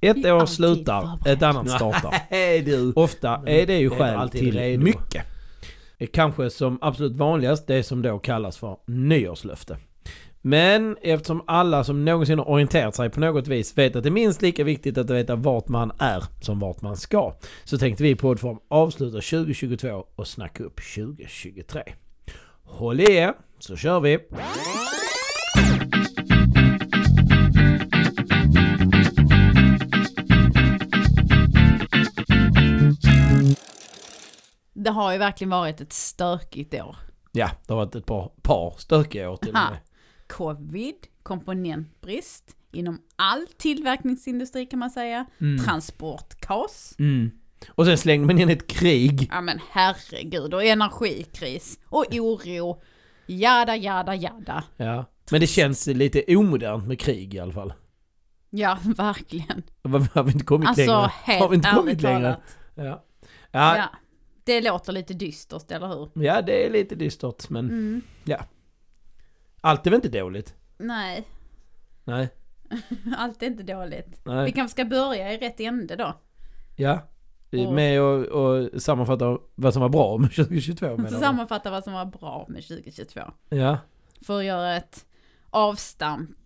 Ett Vi är år alltid slutar, förberedda. ett annat startar. Nej du. Ofta är det ju Är du skäl alltid till redo? mycket. Eh, Kanske som absolut vanligast det som då kallas för nyårslöfte. Men eftersom alla som någonsin har orienterat sig på något vis vet att det är minst lika viktigt att veta vart man är som vart man ska. Så tänkte vi i poddform avsluta 2022 och snacka upp 2023. Håll i er, så kör vi! Det har ju verkligen varit ett stökigt år. Ja, det har varit ett par, par stökiga år till och Ah. med. Covid, komponentbrist, inom all tillverkningsindustri kan man säga, transportkaos. Mm. Och sen slängde man in ett krig. Ja men herregud, och energikris och oro. Jada, jada, jada. Ja. Men det känns lite omodernt med krig i alla fall. Ja, verkligen. Varför har vi inte kommit Alltså, längre? helt Har vi inte ärligt kommit längre? talat. Ja. Ja, ja. Ja. Det låter lite dystert, eller hur? det är lite dystert men Mm. allt är väl inte dåligt? Nej, Nej. allt är inte dåligt. Vi Nej. kanske ska börja i rätt ände då. Ja. Och- Med och, och sammanfatta vad som var bra med 2022 menar du? Sammanfatta vad som var bra med 2022. Ja. För att göra ett avstamp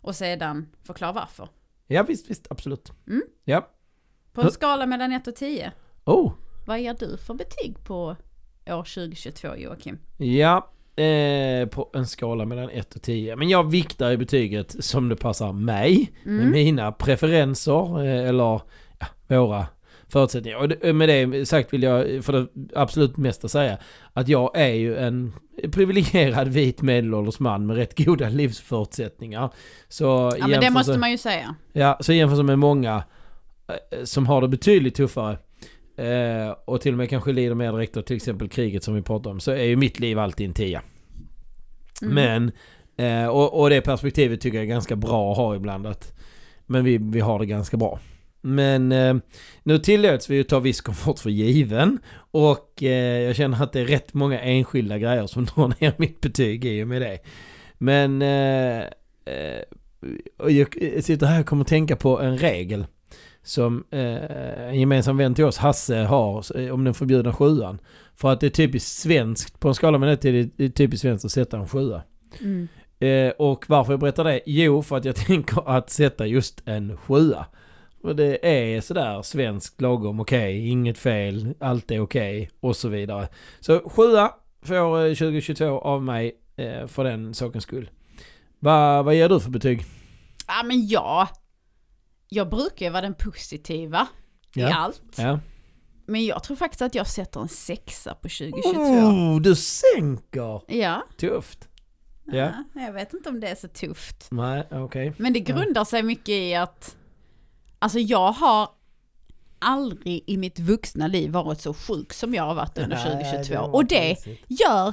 och sedan förklara varför. ja, visst, visst, absolut. Mm. Ja. På en Hur- skala mellan 1 och 10, Oh, vad ger du för betyg på år 2022 Joakim? ja. Eh, på en skala mellan 1 och 10. Men jag viktar i betyget som det passar mig. med Mm. mina preferenser eh, eller ja, våra förutsättningar. Och det- med det sagt vill jag för det absolut mesta säga att jag är ju en privilegierad vit medelålders man med rätt goda livsförutsättningar. Så Ja men det jämfört- måste man ju säga. Ja, så jämfört med många eh, som har det betydligt tuffare eh, och till och med kanske lider mer direkt av till exempel kriget som vi pratade om så är ju mitt liv alltid en tia. Mm. Men, eh, och, och det perspektivet tycker jag är ganska bra att ha ibland att, men vi, vi har det ganska bra. Men eh, nu tillåts vi ju ta viss komfort för given och eh, jag känner att det är rätt många enskilda grejer som drar ner mitt betyg i och med det. Men eh, eh, och jag sitter här och kommer att tänka på en regel som eh, en gemensam vän till oss, Hasse, har eh, om den förbjudna sjuan. För att det är typiskt svenskt, på en skala med ett är det- det är typiskt svenskt att sätta en sjua. Mm. Eh, och varför jag berättar det? Jo, för att jag tänker att sätta just en sjua. Och det är sådär svenskt, lagom, okej, inget fel, allt är okej och så vidare. Så sjua får eh, 2022 av mig eh, för den sakens skull. Va, vad ger du för betyg? Ja men ja. Jag brukar ju vara den positiva i allt. Ja. Men jag tror faktiskt att jag sätter en sexa på 2022. Oh, du sänker! Ja. Tufft. Ja. ja. Jag vet inte om det är så tufft. Nej, okej. Men det Ja. grundar sig mycket i att Alltså jag har aldrig i mitt vuxna liv varit så sjuk som jag har varit under 2022. och det gör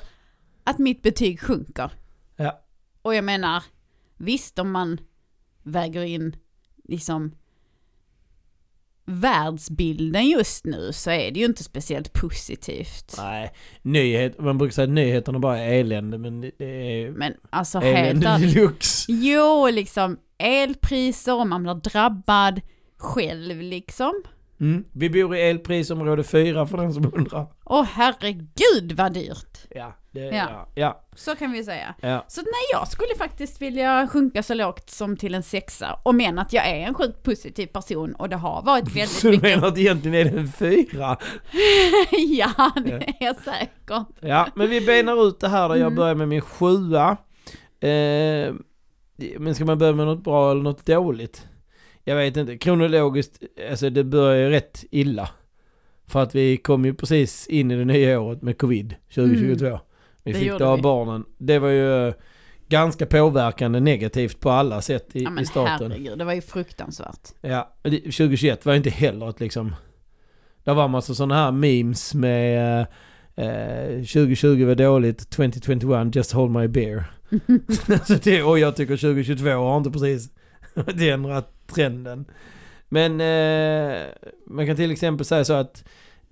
att mitt betyg sjunker. Ja. Och jag menar, visst om man väger in liksom världsbilden just nu så är det ju inte speciellt positivt. Nej, nyhet, man brukar säga att nyheterna bara är elände men det är ju Men alltså helt elände ärligt. deluxe. Jo, liksom elpriser och man blir drabbad själv liksom. Mm. Vi bor i elprisområde 4 för den som undrar. Åh herregud vad dyrt! Ja, det, Ja. ja. ja, Så kan vi säga. ja. Så nej, jag skulle faktiskt vilja sjunka så lågt som till en sexa. Och men att jag är en sjukt positiv person och det har varit väldigt Så du mycket... menar att egentligen är det en fyra? ja, det är jag säkert. Ja, men vi benar ut det här då. Jag Mm. börjar med min sjua. Eh, men ska man börja med något bra eller något dåligt? Jag vet inte. Kronologiskt, alltså det börjar ju rätt illa. För att vi kom ju precis in i det nya året med covid 2022. Vi Mm. Det fick gjorde det av vi. barnen. Det var ju eh, ganska påverkande negativt på alla sätt i, Ja i men staten. herregud, det var ju fruktansvärt. Ja, men det- 2021 var inte heller ett liksom... Där var massa sådana här memes med eh, eh, 2020 var dåligt, 2021 just hold my beer. alltså det, och jag tycker 2022 har inte precis ändrat trenden. Men eh, man kan till exempel säga så att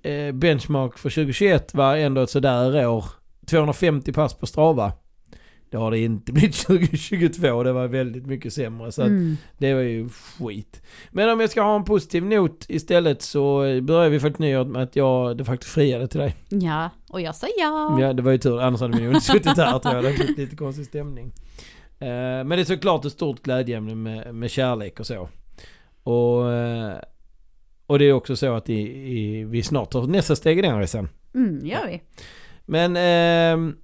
eh, benchmark för 2021 var ändå ett sådär år. 250 pass på Strava. Det Det har det inte blivit 2022. Det var väldigt mycket sämre. Så att Mm. det var ju skit. Men om jag ska ha en positiv not istället så börjar vi faktiskt nyåret med att jag de facto friade till dig. Ja, och jag sa ja. Ja, det var ju tur. Annars hade vi nog inte suttit här tror jag. Det hade blivit lite konstig stämning. Eh, Men det är såklart ett stort glädjeämne med, med kärlek och så. Och, eh, och det är också så att i, i, vi snart tar nästa steg i den resan. Mm, gör vi. Men ehm,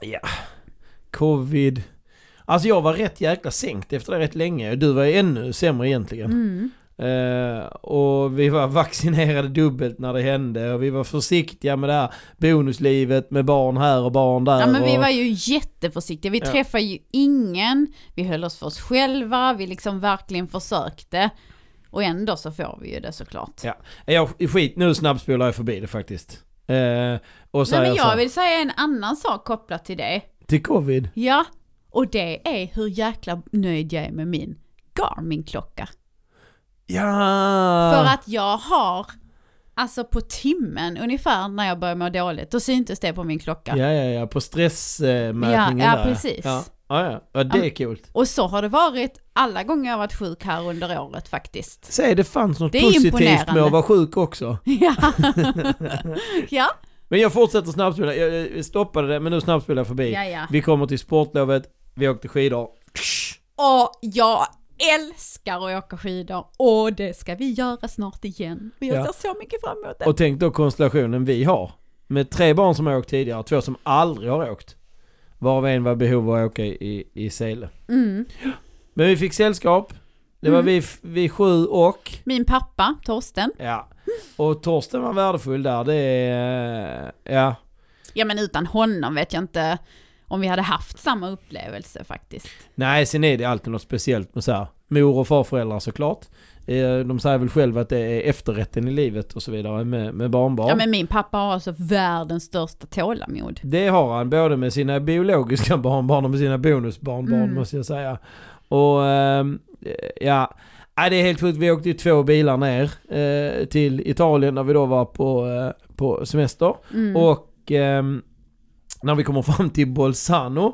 ja, covid. Alltså jag var rätt jäkla sänkt efter det rätt länge. Du var ju ännu sämre egentligen. Mm. Eh, och vi var vaccinerade dubbelt när det hände och vi var försiktiga med det här bonuslivet med barn här och barn där. Ja men vi och, var ju jätteförsiktiga, vi Ja. träffade ju ingen, vi höll oss för oss själva, vi liksom verkligen försökte. Och ändå så får vi ju det såklart. Ja, jag, skit, nu snabbspolar jag förbi det faktiskt. Eh, och så Nej men jag, så jag här, vill säga en annan sak kopplat till det. till covid. Ja, och det är hur jäkla nöjd jag är med min Garmin-klocka. Ja! För att jag har, alltså på timmen ungefär när jag börjar må dåligt, då syntes det på min klocka. Ja, ja, ja, på stressmätningen Ja, ja, där. precis. Ja, ja, ja. ja det är kul. Och så har det varit alla gånger jag varit sjuk här under året faktiskt. Säg det fanns något Det är positivt med imponerande. att vara sjuk också. Ja, ja. Men jag fortsätter snabbspola. Jag jag stoppade det men nu snabbspolar jag förbi. ja, ja. Vi kommer till sportlovet, vi åkte skidor. Och jag älskar att åka skidor och det ska vi göra snart igen. Och jag Ja. ser så mycket fram emot det. Och tänk då konstellationen vi har. Med tre barn som har åkt tidigare, två som aldrig har åkt. Varav en var behov av att åka i, i Sele. Mm. Men vi fick sällskap. Det var Mm. vi, f- vi sju och... Min pappa, Torsten. Ja. Och Torsten var värdefull där. Det är... eh, Ja. Ja men utan honom vet jag inte om vi hade haft samma upplevelse faktiskt. Nej, sen är det alltid något speciellt med så här. Mor och farföräldrar såklart. Eh, De säger väl själva att det är efterrätten i livet och så vidare med, med barnbarn. Ja men min pappa har alltså världens största tålamod. Det har han, både med sina biologiska barnbarn och med sina bonusbarnbarn Mm. måste jag säga. Och ehm, ja, Nej, det är helt sjukt. Vi åkte ju två bilar ner eh, till Italien när vi då var på, eh, på semester. Mm. Och ehm, när vi kommer fram till Bolzano,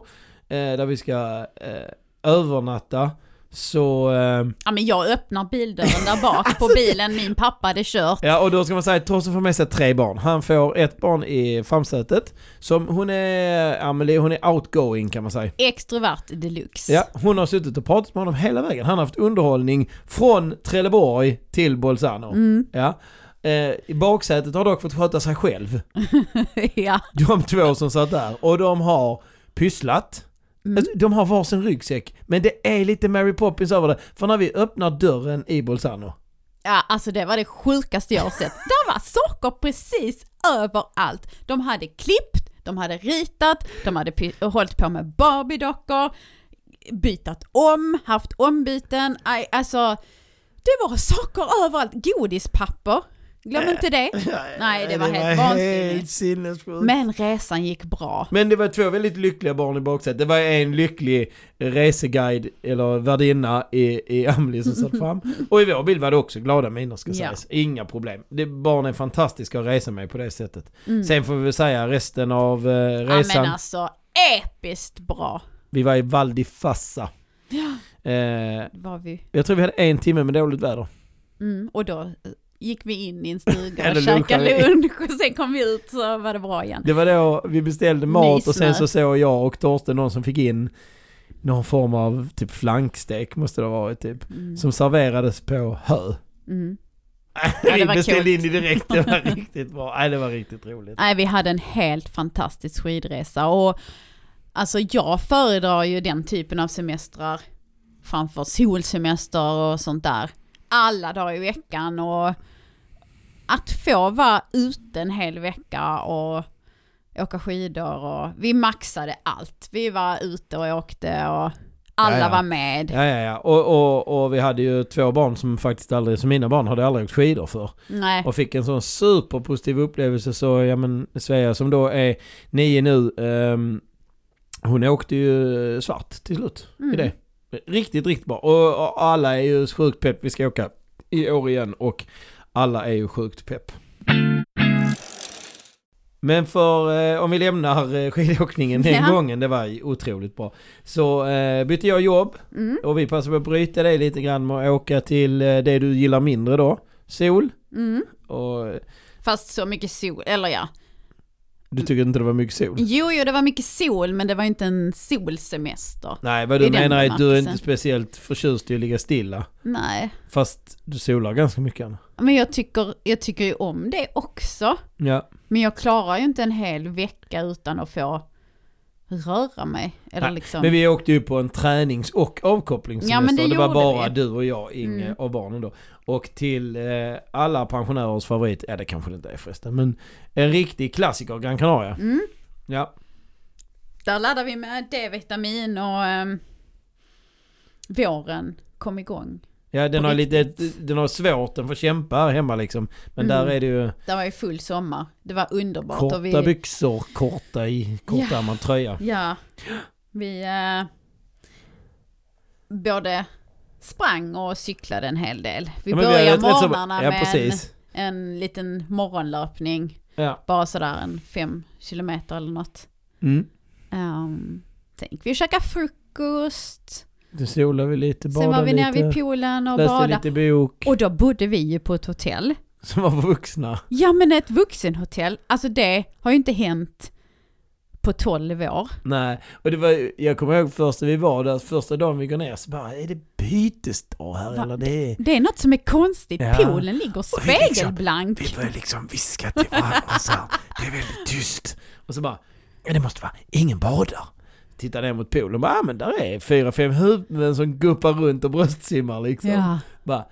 eh, där vi ska eh, övernatta, så... ehm, Ja men jag öppnar bildörren där bak Alltså, på bilen min pappa hade kört. Ja och då ska man säga att Torsten får med sig tre barn. Han får ett barn i framsätet. Som hon är, Amelie, hon är outgoing kan man säga. Extrovert deluxe. Ja, hon har suttit och pratat med honom hela vägen. Han har haft underhållning från Trelleborg till Bolzano. Mm. Ja. Eh, I baksätet har dock fått sköta sig själv. ja. De två som satt där. Och de har pysslat. Mm. Alltså, De har varsin ryggsäck. Men det är lite Mary Poppins över det. För när vi öppnar dörren i Bolzano. Ja, alltså det var det sjukaste jag har sett. Där var saker precis överallt. De hade klippt, de hade ritat, de hade py- hållit på med Barbie-dockor, bytat om, haft ombyten. Aj, alltså, det var saker överallt. Godispapper, glöm inte det. Eh. Nej, det var helt vansinnigt. helt sinnessjukt. Men resan gick bra. Men det var två väldigt lyckliga barn i baksätet. Det var en lycklig reseguide eller värdinna i, i Amelie som satt fram. Och i vår bild var det också glada miner ska Ja. sägas. Inga problem. Det, barn är fantastiska att resa med på det sättet. Mm. Sen får vi väl säga resten av eh, Ja, resan. men alltså, episkt bra Vi var i Val di Fassa. Eh, var vi. jag tror vi hade en timme med dåligt väder. Mm, och då eh, gick vi in i en stuga Eller och lunchade vi. käkade lunch och sen kom vi ut så var det bra igen. Det var då vi beställde mat och sen Mysmys. så såg jag och Torsten någon som fick in någon form av typ flankstek måste det ha varit typ. Mm. Som serverades på hö. Mm. det Vi var beställde coolt. in det direkt, det var riktigt bra. Nej, det var riktigt roligt. Nej, vi hade en helt fantastisk skidresa och alltså jag föredrar ju den typen av semestrar framför solsemester och sånt där. Alla dagar i veckan och att få vara ute en hel vecka och åka skidor och vi maxade allt. Vi var ute och åkte och alla Ja, ja. var med. Ja, ja, ja. Och, och, och vi hade ju två barn som faktiskt aldrig, som mina barn hade aldrig åkt skidor för. Nej. Och fick en sån superpositiv upplevelse så, ja men Svea som då är nio nu, ehm, hon åkte ju svart till slut Mm. i det. Riktigt, riktigt bra. Och, och alla är ju sjukt pepp, vi ska åka i år igen och alla är ju sjukt pepp. Men för, eh, om vi lämnar eh, skidåkningen den Ja. gången, det var ju otroligt bra. Så eh, bytte jag jobb Mm, och vi passade på att bryta dig lite grann med att åka till eh, det du gillar mindre då, sol. mm. Och eh, Fast så mycket sol, eller ja. du tycker inte det var mycket sol? Jo, jo, det var mycket sol, men det var inte en solsemester. Nej, vad I du den menar är att du är inte bemärkelsen. speciellt förtjust i att ligga stilla. Nej, Fast du solar ganska mycket. Anna. men jag tycker, jag tycker ju om det också. Ja, Men jag klarar ju inte en hel vecka utan att få röra mig. Eller Nej, liksom. men vi åkte ju på en tränings och avkopplingssemester. Ja, men det det, var gjorde bara vi. du och jag, Inge Mm. och barnen då. Och till eh, alla pensionärers favorit, ja det kanske det inte är förresten, men en riktig klassiker, Gran Canaria. Mm. Ja, Där laddar vi med D-vitamin och ehm, våren kom igång. ja den, På har lite, den har svårt, den får kämpa här hemma liksom. Men Mm. där är det ju Det var ju full sommar. Det var underbart. korta och vi, byxor, korta i, kortärmad tröja. Ja, vi eh, både sprang och cyklade en hel del. Vi Ja, men har började ett rätt så- morgnarna ja, med en, precis. en liten morgonlöpning. Ja. Bara sådär en fem kilometer eller något. Mm. Um, sen gick vi och käkade frukost. Då solade vi lite, badade Sen var vi nere lite, vid poolen och läste badade. lite bok. Och då bodde vi ju på ett hotell. Som var vuxna. Ja men ett vuxenhotell, alltså det har ju inte hänt på 12 år. Nej, och det var, jag kommer ihåg första vi var där, första dagen vi går ner så bara, är det bytesdag här Va? eller det är... Det är något som är konstigt, Ja. poolen ligger Och vi liksom- spegelblank. Vi börjar liksom viska till varandra så här, det är väldigt tyst. Och så bara, ja det måste vara, ingen badar. Tittar ner mot poolen och bara, ah, men där är fyra, fem huvuden som guppar runt och bröstsimmar liksom. Ja. Bara,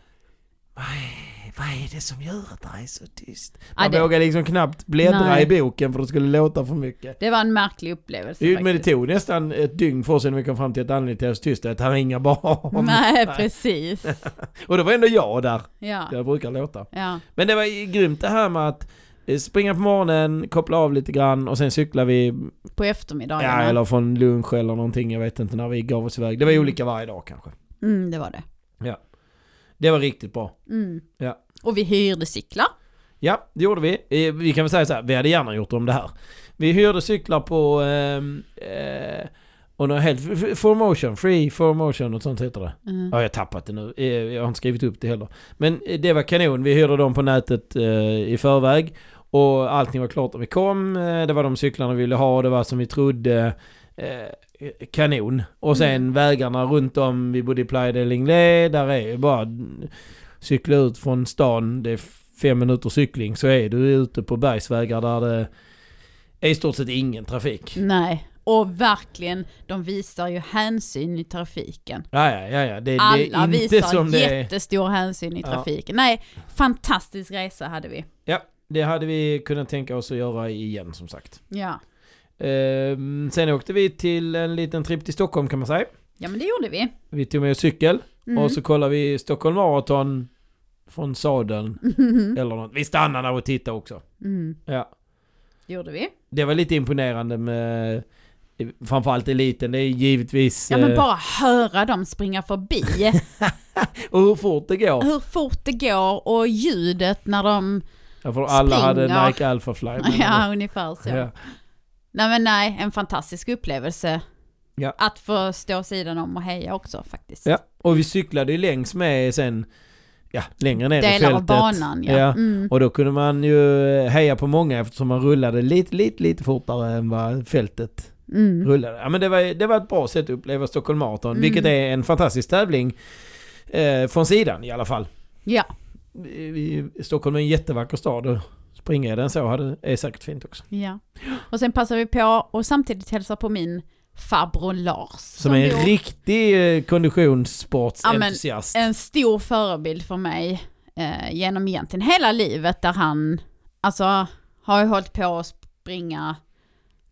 vad är, vad är det som gör att det är så tyst? Ja, Man det- vågar liksom knappt bläddra Nej. i boken för det skulle låta för mycket. Det var en märklig upplevelse Jo, men det faktiskt. tog nästan ett dygn för oss innan vi kom fram till att anledningen till att jag är så tyst är att här är inga barn. Nej, precis. Och det var ändå jag där, Ja. jag brukar låta. Ja. Men det var ju grymt det här med att eh, springa på morgonen, koppla av lite grann och sen cyklar vi, På ja, eftermiddagarna. eller från lunch eller någonting, jag vet inte när vi gav oss iväg. Det var ju olika varje dag kanske. Mm, det var det. Det var riktigt bra. Mm. Ja. Och vi hyrde cyklar. Ja, det gjorde vi. Eh, Vi kan väl säga så här, vi hade gärna gjort om det här. Vi hyrde cyklar på, ehm, eh, och något helt, f- f- Formotion, Free Formotion och sånt heter det. Mm. Ja, jag har tappat det nu. Eh, Jag har inte skrivit upp det heller. Men eh, det var kanon. Vi hyrde dem på nätet eh, i förväg. Och allting var klart när vi kom. Eh, Det var de cyklarna vi ville ha och det var som vi trodde. Eh, kanon. Och sen Mm. vägarna runt om. Vi bodde i Playa del Inglés. Där är ju bara mm, cykla ut från stan. Det är fem minuter cykling så är du ute på bergsvägar där det är i stort sett ingen trafik. Mm. Nej. Och verkligen, de visar ju hänsyn i trafiken. Ja, ja, ja, ja. Det, det Alla är inte som visar det är. jättestor hänsyn i Ja. trafiken. Nej, fantastisk resa hade vi. Det hade vi kunnat tänka oss att göra igen som sagt. Ja, Ehm, sen åkte vi till en liten tripp till Stockholm kan man säga. ja men det gjorde vi. Vi tog med oss cykel Mm. och så kollade vi Stockholm Marathon från sadeln Mhm. eller något. Vi stannade där och tittade också. Mm. Ja. Det gjorde vi. Det var lite imponerande med framförallt eliten. Det är givetvis... Ja men eh, bara höra dem springa förbi. och hur fort det går. Hur fort det går och ljudet när de... Ja, för alla hade springer. Nike Alpha Fly. men- Ja, ungefär så. ja. Nej men nej, en fantastisk upplevelse. Ja. Att få stå sidan om och heja också faktiskt. ja. Och vi cyklade ju längs med sen, ja, längre ner i Delar fältet. av banan ja. Ja. Mm. Och då kunde man ju heja på många eftersom man rullade lite, lite, lite fortare än vad fältet Mm. rullade. Ja, men det, var, det var ett bra sätt att uppleva Stockholm Marathon, Mm. vilket är en fantastisk tävling. Eh, från sidan i alla fall. Ja, Vi- Stockholm är en jättevacker stad och springa i den så hade, är säkert fint också. ja. Och sen passar vi på och samtidigt hälsar på min farbror Lars. Som är en bor- riktig eh, Ja, men konditionssportsentusiast. en stor förebild för mig eh, genom egentligen hela livet där han alltså har ju hållit på att springa,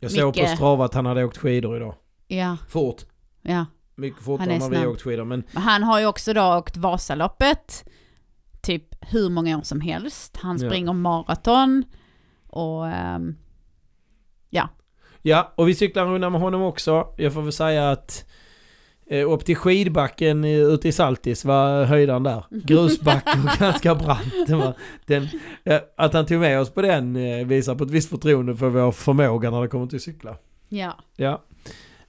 Jag såg på mycket- Strava att han hade åkt skidor idag. ja, Fort. ja. Mycket Han fortare är än vad vi snabb. åkt skidor. Men Men han har ju också då åkt Vasaloppet typ hur många år som helst. Han Ja. springer maraton och ehm, Ja, och vi cyklar en runda med honom också. Jag får väl säga att Eh, upp till skidbacken eh, ute i Saltis var höjdan där. Grusbacke och ganska brant. Den var, den, eh, att han tog med oss på den eh, visar på ett visst förtroende för vår förmåga när det kommer till cykla. Ja. Ja.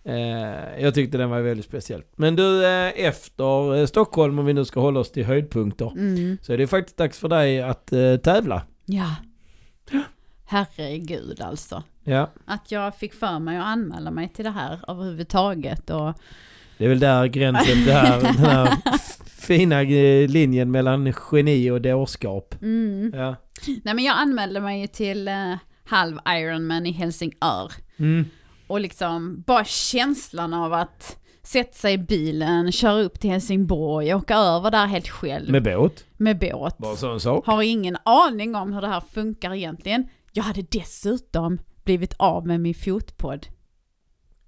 Eh, jag tyckte den var väldigt speciell. Men du, eh, efter eh, Stockholm, om vi nu ska hålla oss till höjdpunkter, Mm. så är det faktiskt dags för dig att eh, tävla. Ja. Herregud alltså. Ja, Att jag fick för mig att anmäla mig till det här överhuvudtaget. Och det är väl där gränsen, det här, den här f- fina eh, linjen mellan geni och dårskap. Mm. Ja. Nej men jag anmälde mig ju till eh, halv Ironman i Helsingör. Mm. Och liksom bara känslan av att sätta sig i bilen, köra upp till Helsingborg, åka över där helt själv med, Med båt, båt. bara en sån sak. Har ingen aning om hur det här funkar egentligen. Jag hade dessutom blivit av med min fotpodd.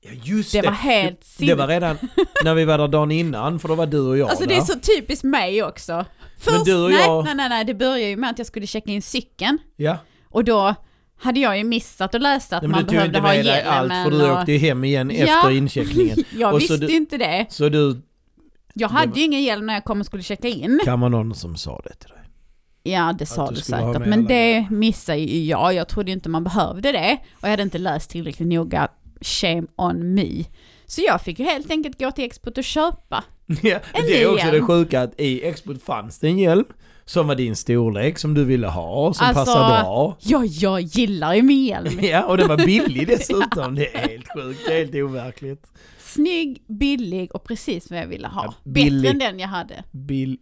Ja, just Det var helt Det var sinnes... redan när vi var där dagen innan, för då var du och jag Alltså det där. är så typiskt mig också. Först, du och nej, jag- nej, nej, nej, det började ju med att jag skulle checka in cykeln. Ja, Och då hade jag ju missat att läsa att Nej, men man du tog behövde inte ha med dig hjälmen. allt för du och... åkte ju hem igen Ja. efter incheckningen. Jag och så visste du- inte det. Så du, Jag Det hade var- ju ingen hjälm när jag kom och skulle checka in. kan vara någon som sa det till dig. Ja, det sa du du, skulle ha säkert. med Men alla det missade ju jag. Jag trodde ju inte man behövde det. Och jag hade inte läst tillräckligt noga. Shame on me. Så jag fick ju helt enkelt gå till expot och köpa. Ja, En det är också hjälm. det sjuka att i Export fanns det en hjälm som var din storlek, som du ville ha, som Alltså- passade bra. Ja, jag gillar ju min hjälm. Ja, och den var billig dessutom. Det är helt sjukt, det är helt overkligt. Snygg, billig och precis vad jag ville ha. Ja, billig. Bättre än den jag hade. Bill...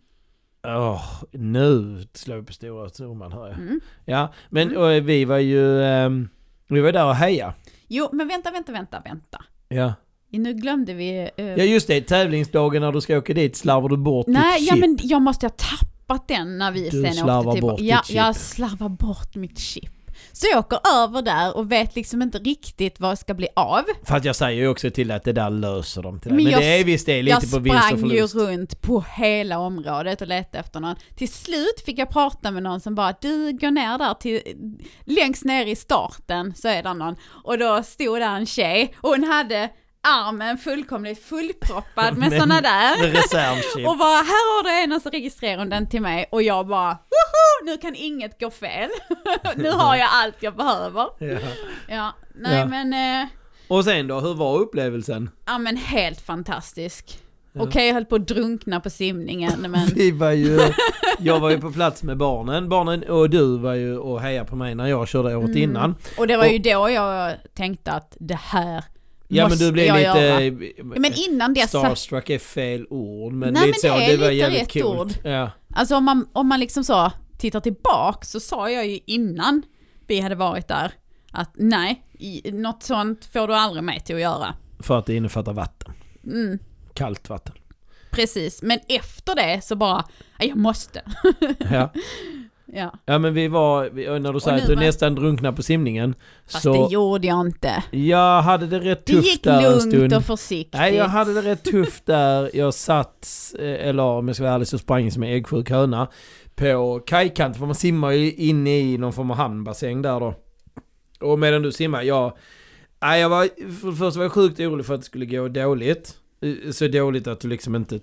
Åh, nu slår jag på stora trumman hör jag. Mm. Ja, men och, vi var ju... ehm, vi var där och heja. Jo, men vänta, vänta, vänta, vänta. Ja. Nu glömde vi... eh, ja, just det. Tävlingsdagen när du ska åka dit slarvar du bort Nej, ditt ja, chip. men jag måste ha tappat den när vi Du sen åkte slarvar tillbaka. bort ditt ja, chip. jag slarvar bort mitt chip. Så jag åker över där och vet liksom inte riktigt vad jag ska bli av. Fast jag säger ju också till att det där löser de till dig. Men Men, jag det är visst det är Jag lite på vinst och sprang ju förlust. runt på hela området och letade efter någon. Till slut fick jag prata med någon som bara, du går ner där till, längst ner i starten så är där någon. Och då stod där en tjej och hon hade armen fullkomligt fullproppad med Men- sådana där. Med reservchip. Och bara, här har du en och så registrerar hon den till mig och jag bara, woho, nu kan inget gå fel. nu har jag allt jag behöver. Ja. Ja, nej Ja. men, eh, Och sen då, hur var upplevelsen? ja men helt fantastisk. Ja. Okej, jag höll på att drunkna på simningen, men Vi var ju, jag var ju på plats med barnen, barnen och du var ju och hejade på mig när jag körde året Mm. innan. och det var ju då jag tänkte att det här Ja men måste du blev jag lite... eh, göra. Ja, men innan det satt, starstruck är fel ord men Nej, lite men så, det är det var lite jävligt rätt coolt. Ja. alltså om man, om man liksom så tittar tillbaka så sa jag ju innan vi hade varit där att nej, i, något sånt får du aldrig mig till att göra. För att det innefattar vatten, Mm. kallt vatten. Precis, men efter det så bara, "Nej, jag måste. Ja, Ja. ja men vi var, vi- när du säger nu att du var- nästan drunknade på simningen. Fast så det gjorde jag inte. jag hade det rätt Det tufft gick där en stund. lugnt och försiktigt. Nej jag hade det rätt tufft där. Jag satt, eh, eller om jag ska vara ärlig så sprang jag som en äggsjuk höna. På kajkanten, för man simmar ju inne i någon form av hamnbassäng där då. Och medan du simmar, jag... Nej jag var, för det första var jag sjukt orolig för att det skulle gå dåligt. Eh, Så dåligt att du liksom inte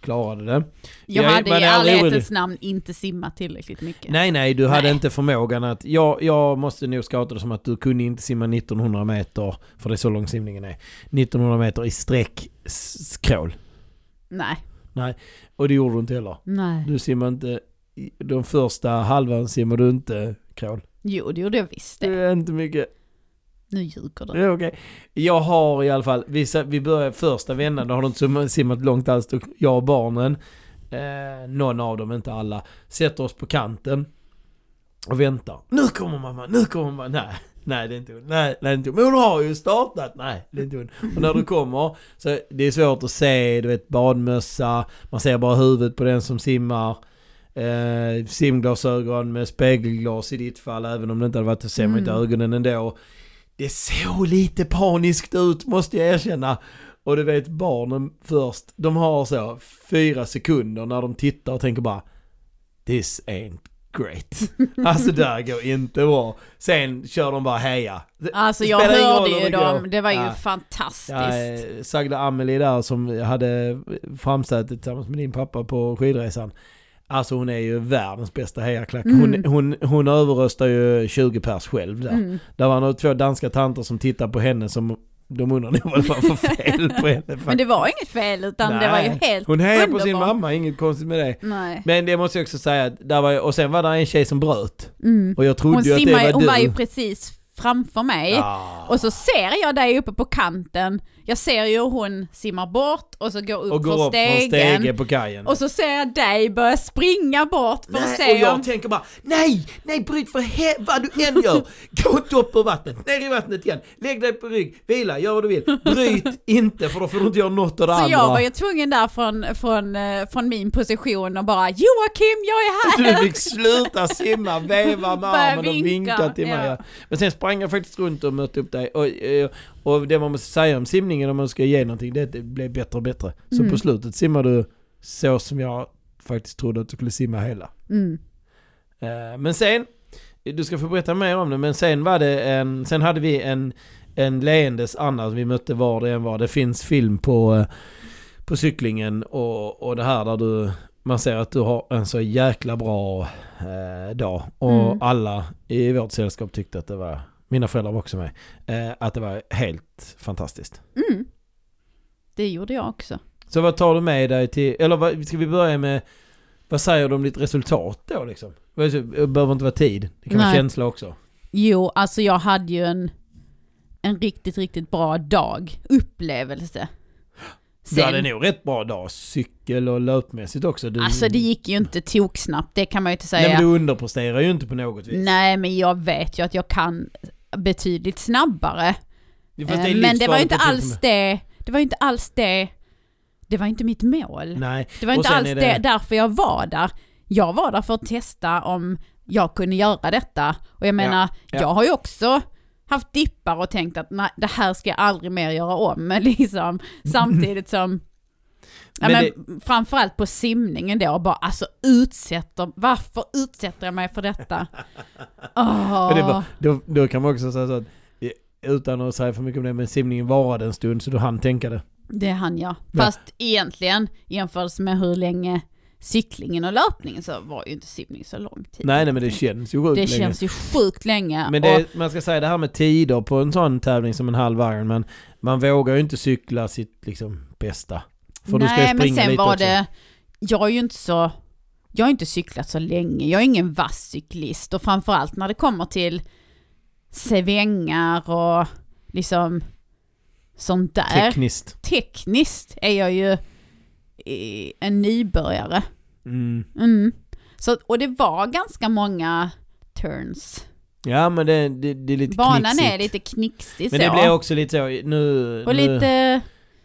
klarade det. jag, jag- hade man i är aldrig ärlighetens namn inte simmat tillräckligt mycket. Nej nej, du hade Nej. inte förmågan att... Jag, jag måste nog skata det som att du kunde inte simma 1900 meter, för det är så lång simningen är. 1900 meter i sträck s- skrål. Nej. Och det gjorde du inte heller. Nej. Du simmar inte, i- de första halvan simmar du inte krål. Jo, det gjorde jag visst Det det. är inte mycket. Nu ljuger Mm. Det du. är okej. Jag har i alla fall, vi, sa- vi börjar första vändan, då har de inte simma- simmat långt alls, då jag och barnen, eh, någon av dem, inte alla, sätter oss på kanten och väntar. Nu kommer mamma, nu kommer mamma, nej. Nej det är inte hon, nej det är inte hon. Men hon har ju startat, nej det är inte hon. Och när du kommer, så det är svårt att se, du vet badmössa, man ser bara huvudet på den som simmar. Eh, simglasögon med spegelglas i ditt fall, även om det inte hade varit, så ser man inte Mm. ögonen ändå. Det såg lite paniskt ut måste jag erkänna. Och du vet barnen först, de har så fyra sekunder när de tittar och tänker bara This ain't great. Alltså där går inte bra. Sen kör de bara heja. Det- Alltså jag spelar ingen roll hörde om ju det går. dem, det var ju Ja. fantastiskt. Ja, eh, Sagda Amelie där som hade framsätet tillsammans med din pappa på skidresan. Alltså hon är ju världens bästa hejaklack. Hon, Mm. hon, hon överröstar ju 20 pers själv där. Mm. Där var nog två danska tanter som tittade på henne som de undrar nog vad det var för fel på henne. Men det var inget fel utan det var ju Nej. helt... Hon hejar på sin underbart. mamma, inget konstigt med det. Nej. Men det måste jag också säga, att där var, ju- och sen var det en tjej som bröt. Mm. Och jag trodde Hon, ju att det simmar, var ju- hon du. var ju precis framför mig. Ah. Och så ser jag dig uppe på kanten. Jag ser ju hur hon simmar bort och så går upp, och för går upp från stegen. stege på kajen. Och så ser jag dig börja springa bort för att Nej, och se jag om... tänker bara nej, nej bryt för he- vad du än gör. Gå inte upp ur vattnet, ner i vattnet igen, lägg dig på rygg, vila, gör vad du vill. Bryt inte för då får du inte göra något av det Så andra. jag var ju tvungen där från, från, eh, från min position och bara Joakim, jag är här! Du fick sluta simma, veva med Börja armen och vinka, vinka till mig. ja. Men sen sprang jag faktiskt runt och mötte upp dig. Och, eh, och det man måste säga om simningen om man ska ge någonting, det, det blev bättre och bättre. Så Mm. på slutet simmade du så som jag faktiskt trodde att du skulle simma hela. Mm. Eh, Men sen, du ska få berätta mer om det, men sen var det en, sen hade vi en, en leendes Anna som vi mötte var det än var. Det finns film på, eh, på cyklingen och, och det här där du, man ser att du har en så jäkla bra eh, dag. Och Mm. alla i vårt sällskap tyckte att det var, mina föräldrar var också med, eh, att det var helt fantastiskt. Mm. Det gjorde jag också. Så vad tar du med dig till, eller vad, ska vi börja med, vad säger du om ditt resultat då liksom? Det behöver inte vara tid, det kan vara Nej. känsla också. Jo, alltså jag hade ju en, en riktigt, riktigt bra dag. Upplevelse. Du hade nog rätt bra dag, cykel och löpmässigt också. Du, Alltså det gick ju inte toksnabbt, det kan man ju inte säga. Nej men du underpresterar ju inte på något vis. Nej, men jag vet ju att jag kan betydligt snabbare. Fast är Eh, men det var ju livsfarligt inte att du- alls det, det var ju inte alls det, det var inte mitt mål. Nej, Det var Och inte sen alls är det... det- därför jag var där. Jag var där för att testa om jag kunde göra detta. Och jag menar, ja. jag har ju också haft dippar och tänkt att nej, det här ska jag aldrig mer göra om. Liksom. Samtidigt som, ja, Men men framförallt på simningen då, bara alltså utsätter, varför utsätter jag mig för detta? Åh. men det var, då, då kan man också säga så att eh, utan att säga för mycket om det, men simningen varade en stund så du hann tänka det. Det hann jag. Ja. Fast egentligen, jämfört med hur länge cyklingen och löpningen så var ju inte simning så lång tid. Nej nej men det känns ju sjukt det länge. känns ju sjukt länge. Men och, det, man ska säga det här med tider på en sån tävling som en halv Ironman, man vågar ju inte cykla sitt liksom bästa. För du ska ju nej, men springa sen lite var också. det... Jag är ju inte så... Jag har inte cyklat så länge. Jag är ingen vass cyklist och framförallt när det kommer till svängar och liksom sånt där. Tekniskt. Tekniskt är jag ju eh, en nybörjare. Mm. Mm. Så, och det var ganska många turns. Ja men det, det, det är lite Banan knixigt. är lite knixig Men så. det blir också lite så, nu... och nu, lite...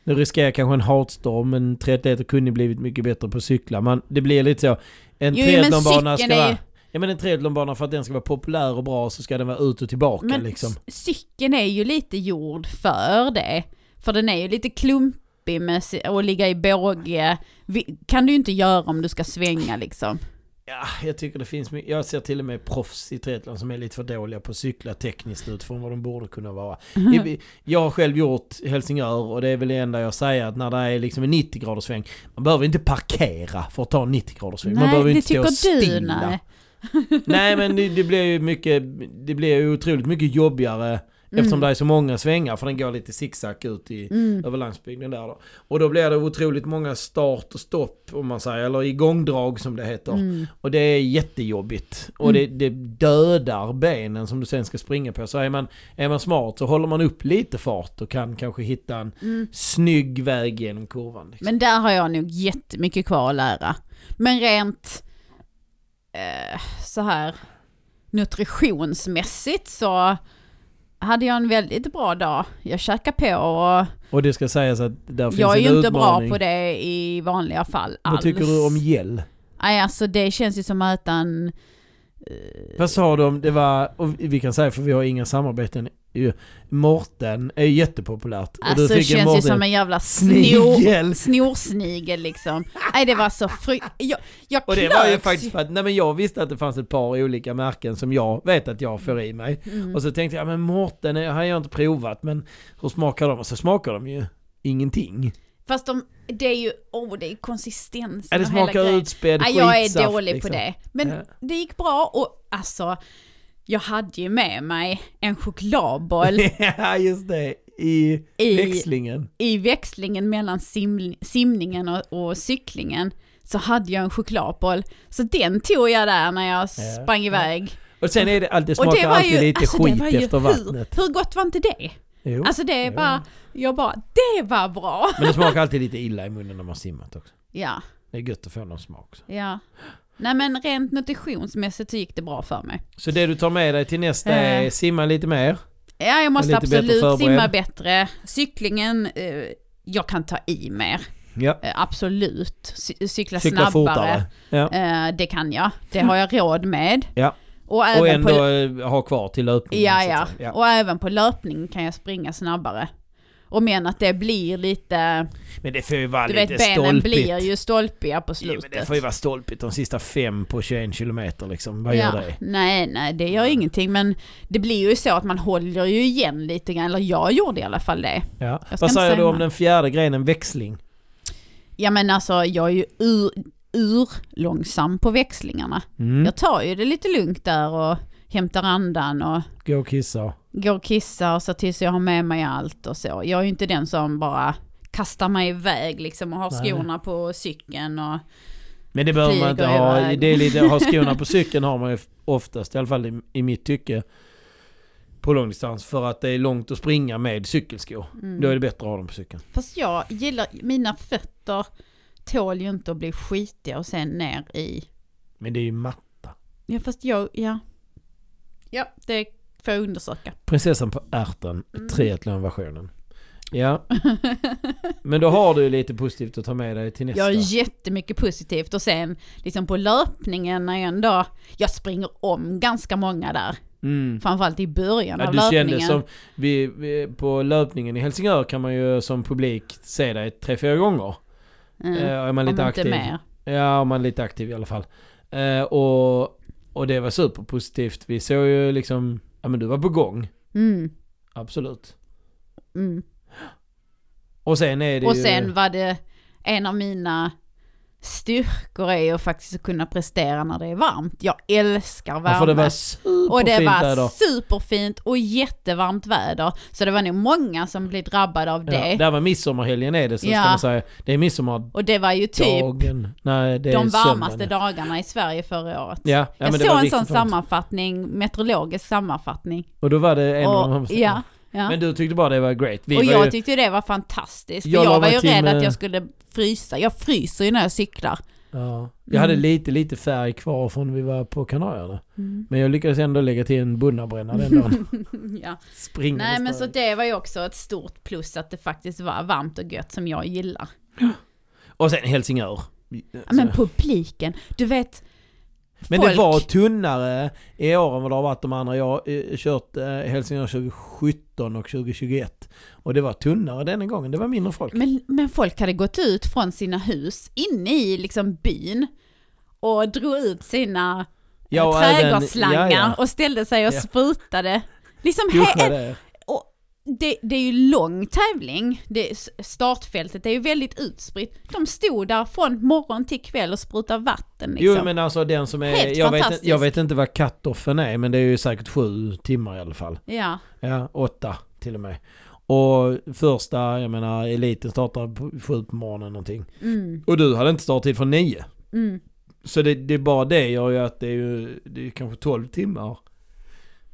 Nu riskerar jag kanske en hatstorm, men triathleter kunde ju blivit mycket bättre på cyklar. Man, det blir lite så. En Jo, jo, men triathlonbana ska cykeln är ju- vara... Ja men en triathlonbana för att den ska vara populär och bra så ska den vara ut och tillbaka Men liksom. c- cykeln är ju lite gjord för det. För den är ju lite klumpig med si- och ligga i båge. Vi- Kan du ju inte göra om du ska svänga liksom. Ja, jag tycker det finns mycket. Jag ser till och med proffs i triathlon som är lite för dåliga på att cykla tekniskt utifrån vad de borde kunna vara. Mhm. I- Jag har själv gjort Helsingör och det är väl det enda jag säger att när det är liksom en 90 graders sväng, man behöver inte parkera för att ta en 90 graders sväng. man behöver det inte stå tycker du stilla. nej. Nej men det, det blir ju mycket, det blir ju otroligt mycket jobbigare eftersom det är så många svängar för den går lite zigzag ut i, Mm. över landsbygden där då. Och då blir det otroligt många start och stopp om man säger, eller igångdrag som det heter. Mm. Och det är jättejobbigt. Och det, det dödar benen som du sen ska springa på. Så är man, är man smart så håller man upp lite fart och kan kanske hitta en Mm. snygg väg genom kurvan. Liksom. Men där har jag nog jättemycket kvar att lära. Men rent eh, så här nutritionsmässigt så hade jag en väldigt bra dag. Jag käkar på och Och det ska sägas att där finns jag är en ju inte utmaning. bra på det i vanliga fall alls. Vad tycker du om gel? Nej, alltså det känns ju som att äta en... Vad sa de? Det var, och vi kan säga för vi har inga samarbeten ju Mårten är jättepopulärt. Och då Alltså tycker känns ju Mårten- som en jävla snor, Snigel! snorsnigel liksom. Nej det var så fry... Jag, jag Och det var ju klöks faktiskt för att, nej men jag visste att det fanns ett par olika märken som jag vet att jag får i mig. Mm. Och så tänkte jag, men Mårten har jag inte provat, men hur smakar de? Och så smakar de ju ingenting. Fast de, det är ju, åh det är konsistensen Ja, det och hela smakar grejen. utspädd Nej, jag är skitsaft, dålig liksom. på det. Men Ja. det gick bra och alltså, jag hade ju med mig en chokladboll ja, just det. I, I- växlingen. i växlingen mellan sim, simningen och, och cyklingen. Så hade jag en chokladboll. Så den tog jag där när jag sprang iväg. Och sen är det alltid, det och smakar alltid lite alltså, skit efter vattnet. Oh. Hur, hur gott var inte det? Jo. Alltså det är bara, jag bara, det var bra! Men det smakar alltid lite illa i munnen när man simmat också. Ja, Det är gött att få någon smak. också. ja. Nej men rent nutritionsmässigt så gick det bra för mig. Så det du tar med dig till nästa Eh. är simma lite mer. Ja, jag måste lite bättre absolut förberedd. simma bättre. Cyklingen, eh, jag kan ta i mer. Ja. Eh, absolut. Cy- Cykla cykla, snabbare. fortare. Ja. Eh, det kan jag. Det har jag råd med. Ja. Och även Och ändå på... eh, ha kvar till löpningen. Ja, så ja. att säga. Och även på löpning kan jag springa snabbare. Och men att det blir lite, Men det får ju vara du lite vet benen stolpigt. blir ju stolpiga på ja, slutet. men det får ju vara stolpigt de sista fem på 21 kilometer liksom. Vad gör det? Nej, nej det gör ingenting men det blir ju så att man håller ju igen lite grann, eller jag gjorde i alla fall det. Ja. Jag ska Vad inte säger säga du om något. den fjärde grenen växling? Ja men alltså jag är ju ur, ur långsam på växlingarna. Mm. Jag tar ju det lite lugnt där och hämtar andan och Gå och kissa. går och kissar och ser till så jag har med mig allt och så. Jag är ju inte den som bara kastar mig iväg liksom och har Nej. skorna på cykeln och Men det behöver man inte Flyger ha. iväg. Det är lite, ha skorna på cykeln har man ju oftast, i alla fall i, i mitt tycke, på långdistans. För att det är långt att springa med cykelskor. Då är det bättre att ha dem på cykeln. mm. Fast jag gillar, mina fötter tål ju inte att bli skitiga och sen ner i... Men det är ju matta. Ja fast jag, ja. Ja, det får jag undersöka. Mm. Prinsessan på ärten, triathlonversionen. Ja, men då har du ju lite positivt att ta med dig till nästa. jag har jättemycket positivt och sen liksom på löpningen när jag ändå, jag springer om ganska många där. Mm. Framförallt i början Ja, av du löpningen. kände som, vi, vi, på löpningen i Helsingör kan man ju som publik se dig tre, fyra gånger. mm. Eh, är man lite om inte aktiv. mer. Ja, om man är lite aktiv i alla fall. Eh, och, och det var superpositivt. Vi såg ju liksom, ja men du var på gång. Mm, Absolut. mm. Och sen är det Och ju... sen var det en av mina styrkor är ju faktiskt att kunna prestera när det är varmt. Jag älskar värme. ja, för det var superfint Och det var väder. superfint och jättevarmt väder. Så det var nog många som blev drabbade av det. Ja, där var midsommarhelgen är det, så Ja. ska man säga. Det är midsommardagen. Och det var ju typ Nej, det är de varmaste söndagen. dagarna i Sverige förra året. Ja, ja, men jag det var såg en riktigt sån varmt. sammanfattning, meteorologisk sammanfattning. Och då var det en av de Och, varmaste. ja, ja. Men du tyckte bara det var great. Vi och var jag ju, tyckte ju det var fantastiskt. För Jag jag, la var mig ju till rädd med- att jag skulle frysa. Jag fryser ju när jag cyklar. ja, jag hade Mm. lite, lite färg kvar från vi var på Kanarierna. Men jag lyckades ändå lägga till en bunnabränna den dagen. Ja. Springande Nej men så sprang. det var ju också ett stort plus att det faktiskt var varmt och gött som jag gillar. Och sen Helsingör. Alltså, Ja, men publiken, du vet, Men det folk. var tunnare i år än vad det har varit de andra. Jag har eh, kört eh, Helsingör 2017 och 2021. Och det var tunnare denna gången. Det var mindre folk. men, men folk hade gått ut från sina hus inne i liksom byn och drog ut sina eh, Ja, och även- trädgårdsslangar ja, och ställde sig och Ja. sprutade. Liksom ja. he- det. och det, det är ju lång tävling, det, s- startfältet det är ju väldigt utspritt. De stod där från morgon till kväll och sprutade vatten liksom. Jo men alltså den som är... Helt Jag vet, fantastiskt. jag vet inte vad cut-offen är men det är ju säkert sju timmar i alla fall. Ja, Ja, åtta till och med. Och första, jag menar eliten startar på sju på morgonen någonting. mm, Och du hade inte starttid från nio. mm. Så det, det är bara det gör ju att det är ju det är ju kanske 12 timmar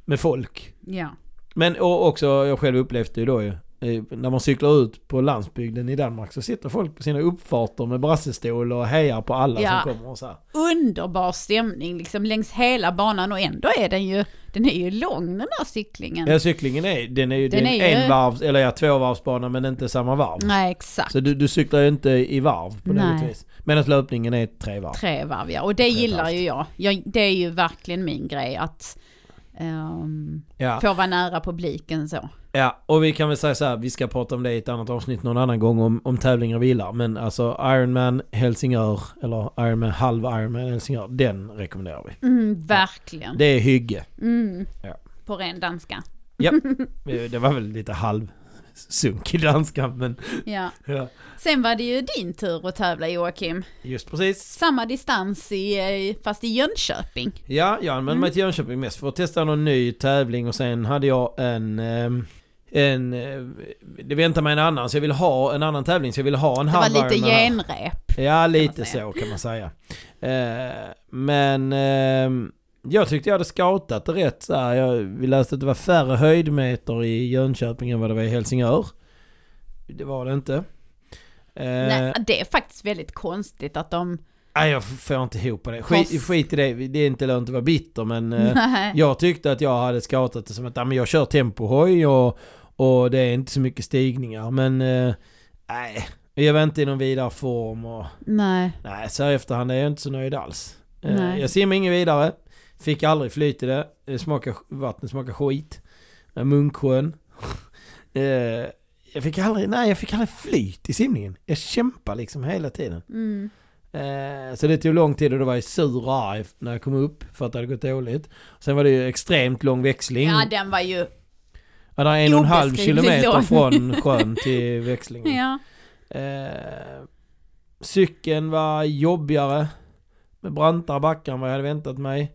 med folk. ja. Men och också, jag själv upplevt det ju då ju. eh, När man cyklar ut på landsbygden i Danmark så sitter folk på sina uppfarter med brassestol och hejar på alla Ja. som kommer och så här. Underbar stämning liksom längs hela banan och ändå är den ju, den är ju lång den där cyklingen. Ja, cyklingen är, den är ju, Den det är är ju- en varvs, eller ja, tvåvarvsbana men inte samma varv. Nej exakt. Så du, du cyklar ju inte i varv på något Nej. vis. Medan löpningen är tre varv. Tre varv ja, och det och ett gillar halvt. ju jag. jag. Det är ju verkligen min grej att ehm, Ja. får vara nära publiken så. ja, och vi kan väl säga så här, vi ska prata om det i ett annat avsnitt någon annan gång om, om tävlingar och bilar. Men alltså Ironman Helsingör, eller Ironman, halv Ironman Helsingör, den rekommenderar vi. Mm, verkligen. Det är hygge. Mm. Ja. På ren danska. Eh, Det var väl lite halv sunk i danskan, men Ja. ja. Sen var det ju din tur att tävla Joakim. just precis. Samma distans i, eh, fast i Jönköping. Ja, jag använde Mm. mig till Jönköping mest för att testa någon ny tävling och sen hade jag en... ehm, En... eh, Det väntade mig en annan så jag ville ha en annan tävling så jag ville ha en Det var halv lite Ironman här. genrep. Ja, lite säga. så kan man säga. Eh, men ehm, jag tyckte jag hade scoutat det rätt så här. Jag, vi läste att det var färre höjdmeter i Jönköping än vad det var i Helsingör. Det var det inte. Eh, Nej, nej. det är faktiskt väldigt konstigt att de... jag får inte ihop det. Skit, Kost- skit i det. Det är inte lönt att vara bitter men... eh, Nej. Jag tyckte att jag hade scoutat det som att ja, men jag kör tempohoj och, och det är inte så mycket stigningar. Men eh, nej, jag var inte i någon vidare form och Nej. nej, så här i efterhand är jag inte så nöjd alls. Eh, Nej. Jag simmade inget vidare, fick aldrig flyt i det, Eh, smakar, vattnet smakar skit. Eh, Munksjön. eh, jag fick aldrig, nej jag fick aldrig flyt i simningen. Jag kämpar liksom hela tiden. Mm. Eh, Så det tog lång tid och då var jag sur och arg när jag kom upp för att det hade gått dåligt. Sen var det ju extremt lång växling. Ja, den var ju... Ja, det är en och en halv Obeskrivligt kilometer lång. från sjön till växlingen. Ja. Eh, cykeln var jobbigare. Med brantare backar än vad jag hade väntat mig.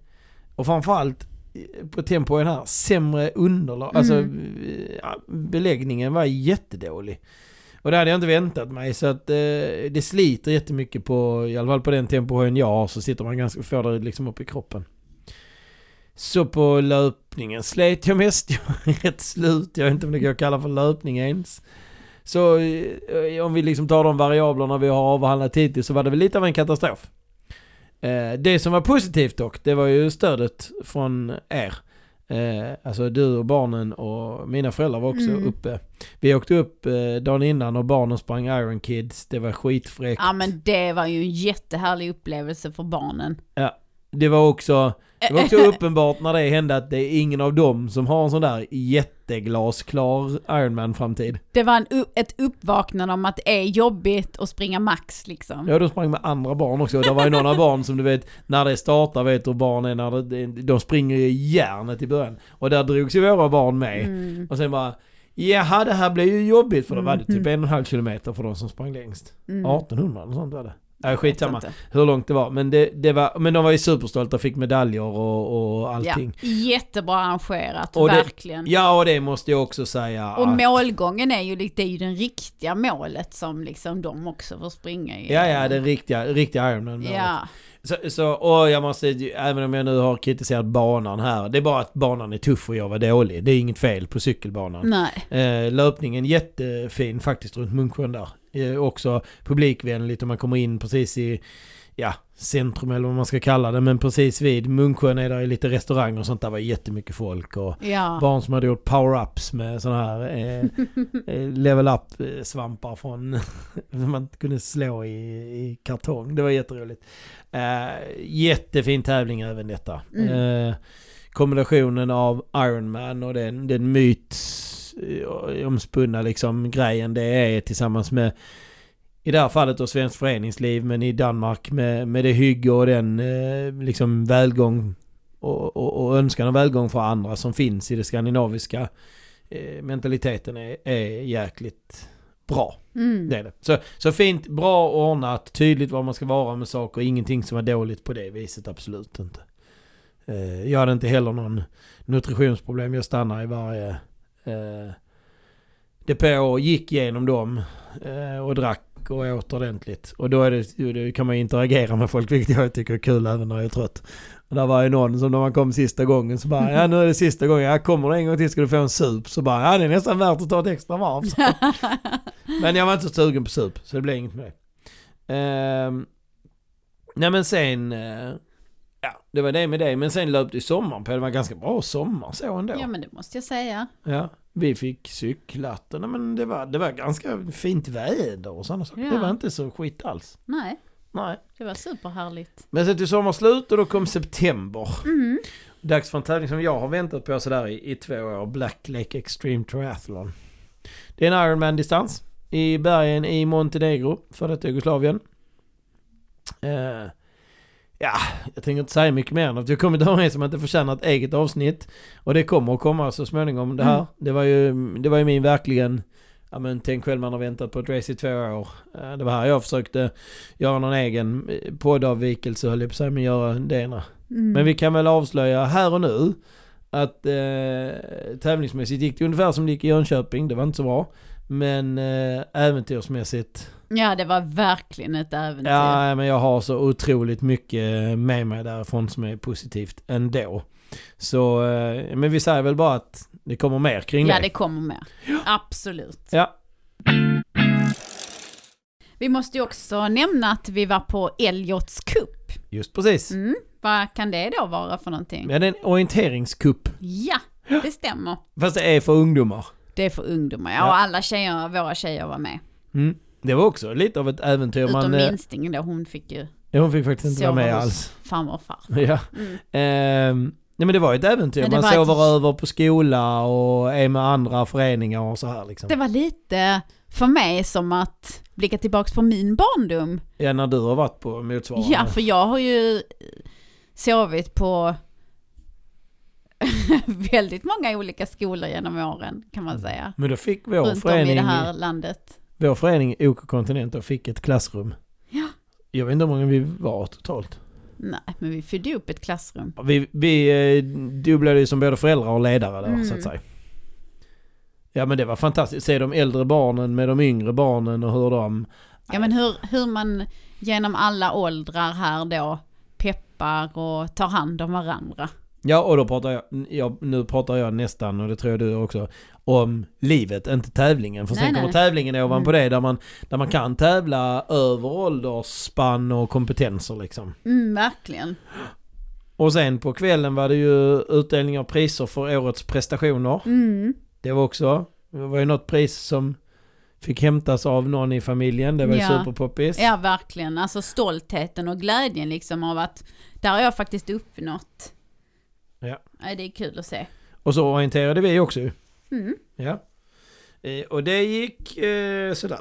Och framförallt eh, på tempoen här, sämre underlag. Mm. Alltså eh, ja, beläggningen var jättedålig. Och det hade jag inte väntat mig så att eh, det sliter jättemycket på, i alla fall på den tempohöjden jag har så sitter man ganska, får det liksom upp i kroppen. Så på löpningen slet jag mest, jag är rätt slut, jag vet inte om det går att kalla för löpning ens. Så eh, om vi liksom tar de variablerna vi har avhandlat hittills så var det väl lite av en katastrof. Eh, det som var positivt dock, det var ju stödet från er. Eh, alltså du och barnen och mina föräldrar var också Mm. uppe. Vi åkte upp eh, dagen innan och barnen sprang Iron Kids, det var skitfräckt. ja, men det var ju en jättehärlig upplevelse för barnen. Det var också, det var också uppenbart när det hände att det är ingen av dem som har en sån där jätteglasklar Ironman-framtid. Det var en, u- ett uppvaknande om att det är jobbigt att springa max liksom. Ja, de sprang med andra barn också. Det var ju några barn som du vet, när det startar vet du hur barn är, när det, de springer ju i järnet i början. Och där drogs ju våra barn med. Mm. Och sen bara, jaha det här blir ju jobbigt för då var det typ Mm. en och en halv kilometer för de som sprang längst. Mm. 1800 eller sånt var det. Äh, Jag vet skitsamma inte. hur långt det var. Men, det, det var, men de var ju superstolta, fick medaljer och, och allting. Ja, jättebra arrangerat, Och det- verkligen. Ja, och det måste jag också säga. Och att- målgången är ju, li- det är ju den riktiga målet som liksom de också får springa i. Ja, ja, den riktiga, riktiga Ironman ja. Ja, så, så, och jag måste, ju- även om jag nu har kritiserat banan här, det är bara att banan är tuff och jag var dålig. Det är inget fel på cykelbanan. nej. Eh, löpningen jättefin faktiskt runt Munksjön där. Eh, också publikvänligt om man kommer in precis i, ja, centrum eller vad man ska kalla det, men precis vid Munksjön är det lite restauranger och sånt, där var jättemycket folk och Ja, Barn som hade gjort power-ups med sådana här eh, eh, level up-svampar från som man kunde slå i, i kartong. Det var jätteroligt. Eh, jättefin tävling även detta. Eh, kombinationen av Ironman och den, den myt eh, omspunna liksom grejen det är tillsammans med i det här fallet då svenskt föreningsliv men i Danmark med, med det hygge och den eh, liksom välgång och, och, och önskan och välgång för andra som finns i det skandinaviska eh, mentaliteten är, är jäkligt bra. mm. Det är det. Så, så fint, bra ordnat, tydligt var man ska vara med saker, ingenting som var dåligt på det viset, absolut inte. Eh, jag hade inte heller någon nutritionsproblem, jag stannade i varje eh, depå och gick igenom dem eh, och drack och åt ordentligt. Och då, är det, ju- då kan man ju interagera med folk, vilket jag tycker är kul även när jag är trött. Och där var ju någon som när man kom sista gången så bara, ja nu är det sista gången, jag kommer det en gång till ska du få en sup. Så bara, ja det är nästan värt att ta ett extra varv. Så. Men jag var inte så sugen på sup, så det blev inget med det. Ehm, nej men sen, eh, ja det var det med det. Men sen löpte ju sommaren på, det var en ganska bra sommar så ändå. ja, men det måste jag säga. Ja, vi fick cyklat och nej, men det var, det var ganska fint väder och sådana saker. Ja. Det var inte så skit alls. Nej, Nej. det var superhärligt. Men sen till sommar slut och då kom september. Mm. Dags för en tävling som jag har väntat på sådär i, i två år. Black Lake Extreme Triathlon. Det är en Ironman-distans i bergen i Montenegro, före detta Jugoslavien. Eh, ja, jag tänker inte säga mycket mer än att vi kommit överens som att det förtjänar ett eget avsnitt. Och det kommer att komma så småningom det här. Mm. Det, var ju, det var ju min verkligen, ja men tänk själv man har väntat på ett race i två år. Eh, det var här jag försökte göra någon egen eh, poddavvikelse höll jag på att säga, men göra det ena. Mm. Men vi kan väl avslöja här och nu att eh, tävlingsmässigt gick det ungefär som det gick i Jönköping, det var inte så bra. Men eh, äventyrsmässigt, Ja, det var verkligen ett äventyr. ja men jag har så otroligt mycket med mig därifrån som är positivt ändå. Så, eh, men vi säger väl bara att det kommer mer kring ja det. det kommer mer. Absolut. Ja. Vi måste ju också nämna att vi var på Elliots Cup. Just precis. Mm. Vad kan det då vara för någonting? Ja, det är en orienteringskupp. Ja, det stämmer. Fast det är för ungdomar. Det är för ungdomar. Ja, Ja. och alla tjejer, våra tjejer var med. Mm. Det var också lite av ett äventyr. Utom Man, eh, minstingen då, hon fick ju hon fick faktiskt inte vara sova med hos alls. farmor och far. Ja. Mm. Ehm, nej men det var ju ett äventyr. Men det Man var sover ett- över på skola och är med andra föreningar och så här liksom. Det var lite för mig som att blicka tillbaks på min barndom. Ja, när du har varit på motsvarande. Ja, för jag har ju sovit på väldigt många olika skolor genom åren kan Mm. man säga. Men då fick vår Runt om i förening, det här landet. vår förening OK Kontinent då fick ett klassrum. Ja. Jag vet inte hur många vi var totalt. Nej, men vi fyllde upp ett klassrum. Vi, vi eh, dubblade ju som både föräldrar och ledare där Mm. så att säga. Ja men det var fantastiskt. Se de äldre barnen med de yngre barnen och hur de... Ja, men hur, hur man genom alla åldrar här då peppar och tar hand om varandra. Ja och då pratar jag, jag, nu pratar jag nästan och det tror jag du också, om livet, inte tävlingen. För Nej, sen kommer nej. Mm. tävlingen ovanpå det där man, där man kan tävla över åldersspann och kompetenser liksom. Mm, verkligen. Och sen på kvällen var det ju utdelning av priser för årets prestationer. Mm. Det var också, det var ju något pris som fick hämtas av någon i familjen, det var ju Ja. superpoppis. Ja, verkligen. Alltså stoltheten och glädjen liksom av att där har jag faktiskt uppnått. Ja. det är kul att se. Och så orienterade vi också ju. Mm. Ja. Eh, Och det gick eh, sådär.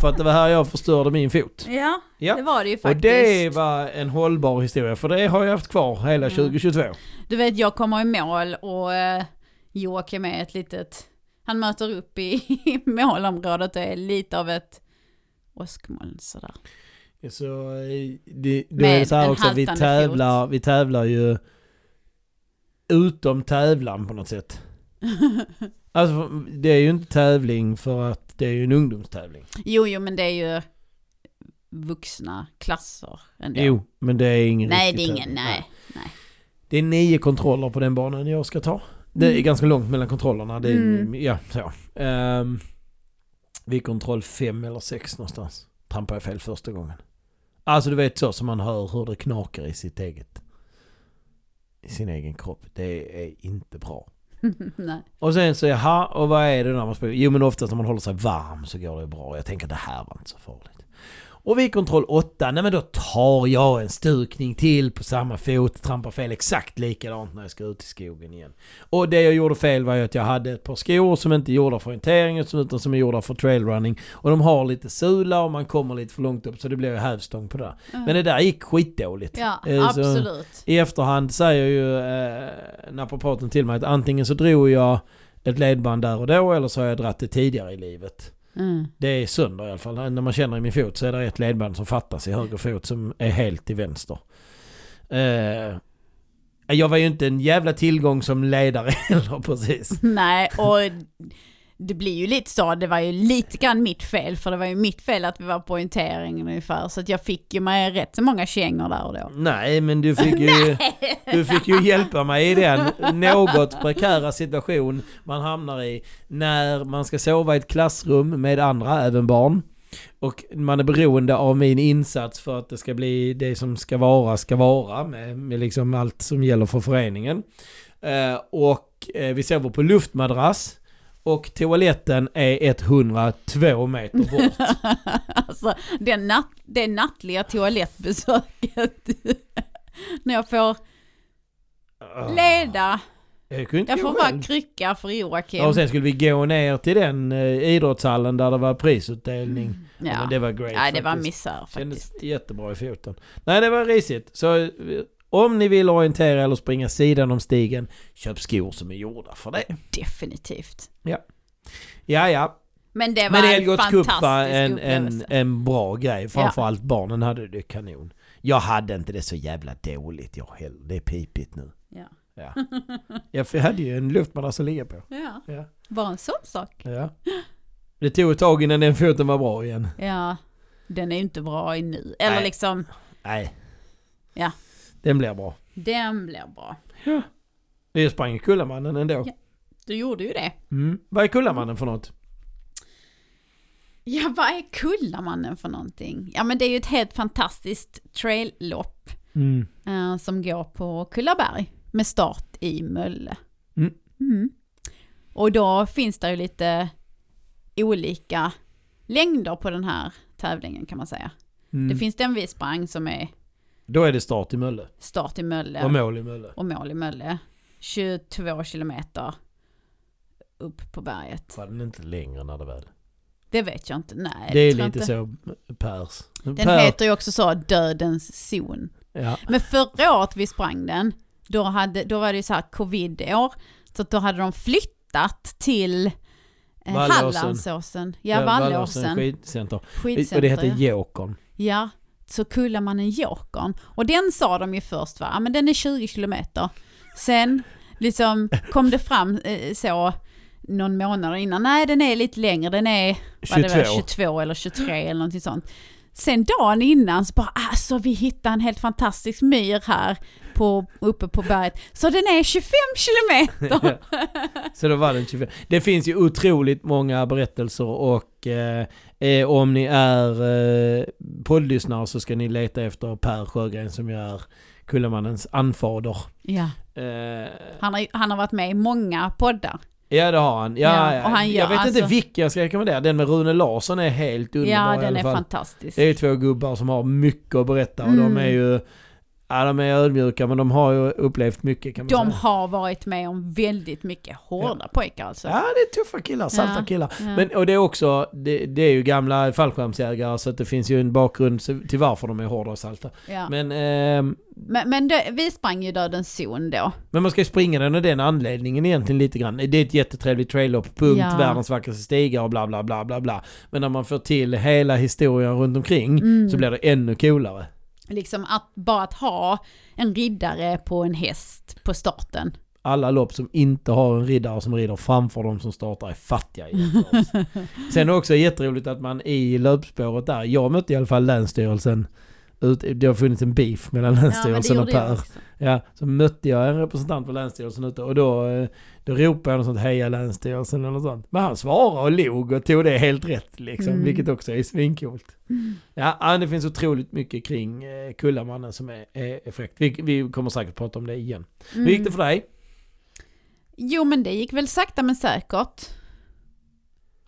för att det var här jag förstörde min fot. Ja, Ja. det var det ju Och faktiskt. det var en hållbar historia för det har jag haft kvar hela Mm. 2022. Du vet, jag kommer i mål och eh, Joakim är ett litet... Han möter upp i i målområdet och är lite av ett åskmoln sådär. Så eh, det, då Med är det så här en också, vi haltande tävlar, vi tävlar ju utom tävlan på något sätt. Alltså det är ju inte tävling för att det är ju en ungdomstävling. Jo, jo, men det är ju vuxna klasser ändå. Jo, men det är ingen nej, det riktig är ingen, tävling. nej. Det är nio kontroller på den banan jag ska ta. Det är Mm. ganska långt mellan kontrollerna. Det är, Mm. ja, så. Um, vid kontroll fem eller sex någonstans trampade jag fel första gången. Alltså du vet så som man hör hur det knakar i sitt eget i sin egen kropp. Det är inte bra. nej. Och sen så, jaha, och vad är det när man spelar? Jo men oftast när man håller sig varm så går det bra. Jag tänker det här var inte så farligt. Och vid kontroll 8, nej men då tar jag en stukning till på samma fot, trampar fel exakt likadant när jag ska ut i skogen igen. Och det jag gjorde fel var ju att jag hade ett par skor som inte är gjorda för orientering utan som är gjorda för trailrunning. Och de har lite sula och man kommer lite för långt upp så det blev ju hävstång på det där. Men det där gick skitdåligt. Ja, Eh, så- absolut. i efterhand säger ju eh, naprapaten till mig att antingen så drog jag ett ledband där och då eller så har jag dratt det tidigare i livet. Mm. Det är sönder i alla fall. När man känner i min fot så är det ett ledband som fattas i höger fot som är helt till vänster. Eh, jag var ju inte en jävla tillgång som ledare heller precis. Nej, och det blir ju lite så, det var ju lite grann mitt fel, för det var ju mitt fel att vi var på orientering ungefär, så att jag fick ju mig rätt så många kängor där och då. Nej men du fick ju, du fick ju hjälpa mig i den något prekära situation man hamnar i när man ska sova i ett klassrum med andra, även barn. Och man är beroende av min insats för att det ska bli det som ska vara, ska vara med, med liksom allt som gäller för föreningen. Eh, och eh, vi sover på luftmadrass och toaletten är 102 meter bort. alltså, det, natt, det nattliga toalettbesöket, när jag får Ah. Leda. Jag kunde inte Jag gå får själv. vara krycka för Joakim. Ja, och sen skulle vi gå ner till den eh, idrottshallen där det var prisutdelning. Ja. Mm. ja. men det var great Nej, det var en faktiskt. misär faktiskt. Kändes jättebra i foten. Nej, det var risigt. Så eh, om ni vill orientera eller springa sidan om stigen, köp skor som är gjorda för det. Definitivt. Ja, ja. Men det var Men en Helgots cup fantastisk var en, en, upplevelse. en bra grej. Framförallt barnen hade det kanon. Jag hade inte det så jävla dåligt jag heller. Det är pipigt nu. Ja. Ja. Jag hade ju en luftmadrass att ligga på. Ja. Ja. Bara en sån sak. ja. Det tog ett tag innan den foten var bra igen. Ja. Den är ju inte bra i nu. Eller Nej. liksom, Nej. Ja. Den blir bra. den blir bra. Det sprang Kullamannen ändå. Ja. Du gjorde ju det. Mm. Vad är Kullamannen för något? Ja, vad är Kullamannen för någonting? Ja, men det är ju ett helt fantastiskt traillopp Mm. eh, som går på Kullaberg med start i Mölle. Mm. Mm. Och då finns det ju lite olika längder på den här tävlingen kan man säga. Mm. Det finns den vi sprang som är Då är det start i Mölle. start i Mölle Och mål i Mölle. och mål i Mölle. 22 kilometer upp på berget. Var den inte längre när det väl? Det vet jag inte. Nej, det är tror jag lite inte. så Pers. Den heter ju också så Dödens zon. Ja. Men förra året vi sprang den, då, hade, då var det ju så här covid-år. Så att då hade de flyttat till eh, Vallåsen. Hallandsåsen. Ja, Ja, Vallåsen. skidcenter. Skidcenter. Och det heter ja. Jokern. Ja, så Kullamannen Jokern. Och den sa de ju först va, ja men den är 20 kilometer. Sen liksom kom det fram eh, så någon månad innan, nej den är lite längre, den är vad 22. det var, 22 eller 23 eller någonting sånt. Sen dagen innan så bara, alltså vi hittade en helt fantastisk myr här på, uppe på berget. Så den är 25 kilometer! så då var den 25. Det finns ju otroligt många berättelser och eh, eh, om ni är eh, poddlyssnare så ska ni leta efter Per Sjögren som ju är Kullamannens anfader. Ja, Eh, han har, han har varit med i många poddar. Ja det har han. Ja, Ja, ja, och han gör jag vet alltså- inte vilken jag ska rekommendera. Den med Rune Larsson är helt underbar ja, i den alla är fall. fantastisk. Det är ju två gubbar som har mycket att berätta och de Mm. är ju... Ja de är ödmjuka men de har ju upplevt mycket kan man De säga. har varit med om väldigt mycket hårda pojkar alltså. Ja det är tuffa killar, salta Ja, killar. ja. Men, och det är också, det, det är ju gamla fallskärmsjägare så att det finns ju en bakgrund till varför de är hårda och salta. Ja. Men, ehm, Men, men det, vi sprang ju Dödens zon då. men man ska ju springa den av den anledningen egentligen lite grann. Det är ett jättetrevligt trail-up, punkt, Ja. världens vackraste stigar och bla bla bla bla bla. Men när man får till hela historien runt omkring Mm. så blir det ännu coolare. Liksom att bara att ha en riddare på en häst på starten. Alla lopp som inte har en riddare som rider framför dem som startar är fattiga i jämförelse. Sen är det också jätteroligt att man i löpspåret där, jag mötte i alla fall Länsstyrelsen, ut, det har funnits en beef mellan Länsstyrelsen och Per. också. Ja, så mötte jag en representant för Länsstyrelsen ute och då, eh, då ropade jag något sånt Heja Länsstyrelsen eller något sånt. Men han svarade och log och tog det helt rätt liksom, Mm. vilket också är svincoolt. Ja, ja, det finns otroligt mycket kring eh, Kullamannen som är, är, är fräckt. Vi, vi kommer säkert prata om det igen. Hur Mm. gick det för dig? Jo men det gick väl sakta men säkert.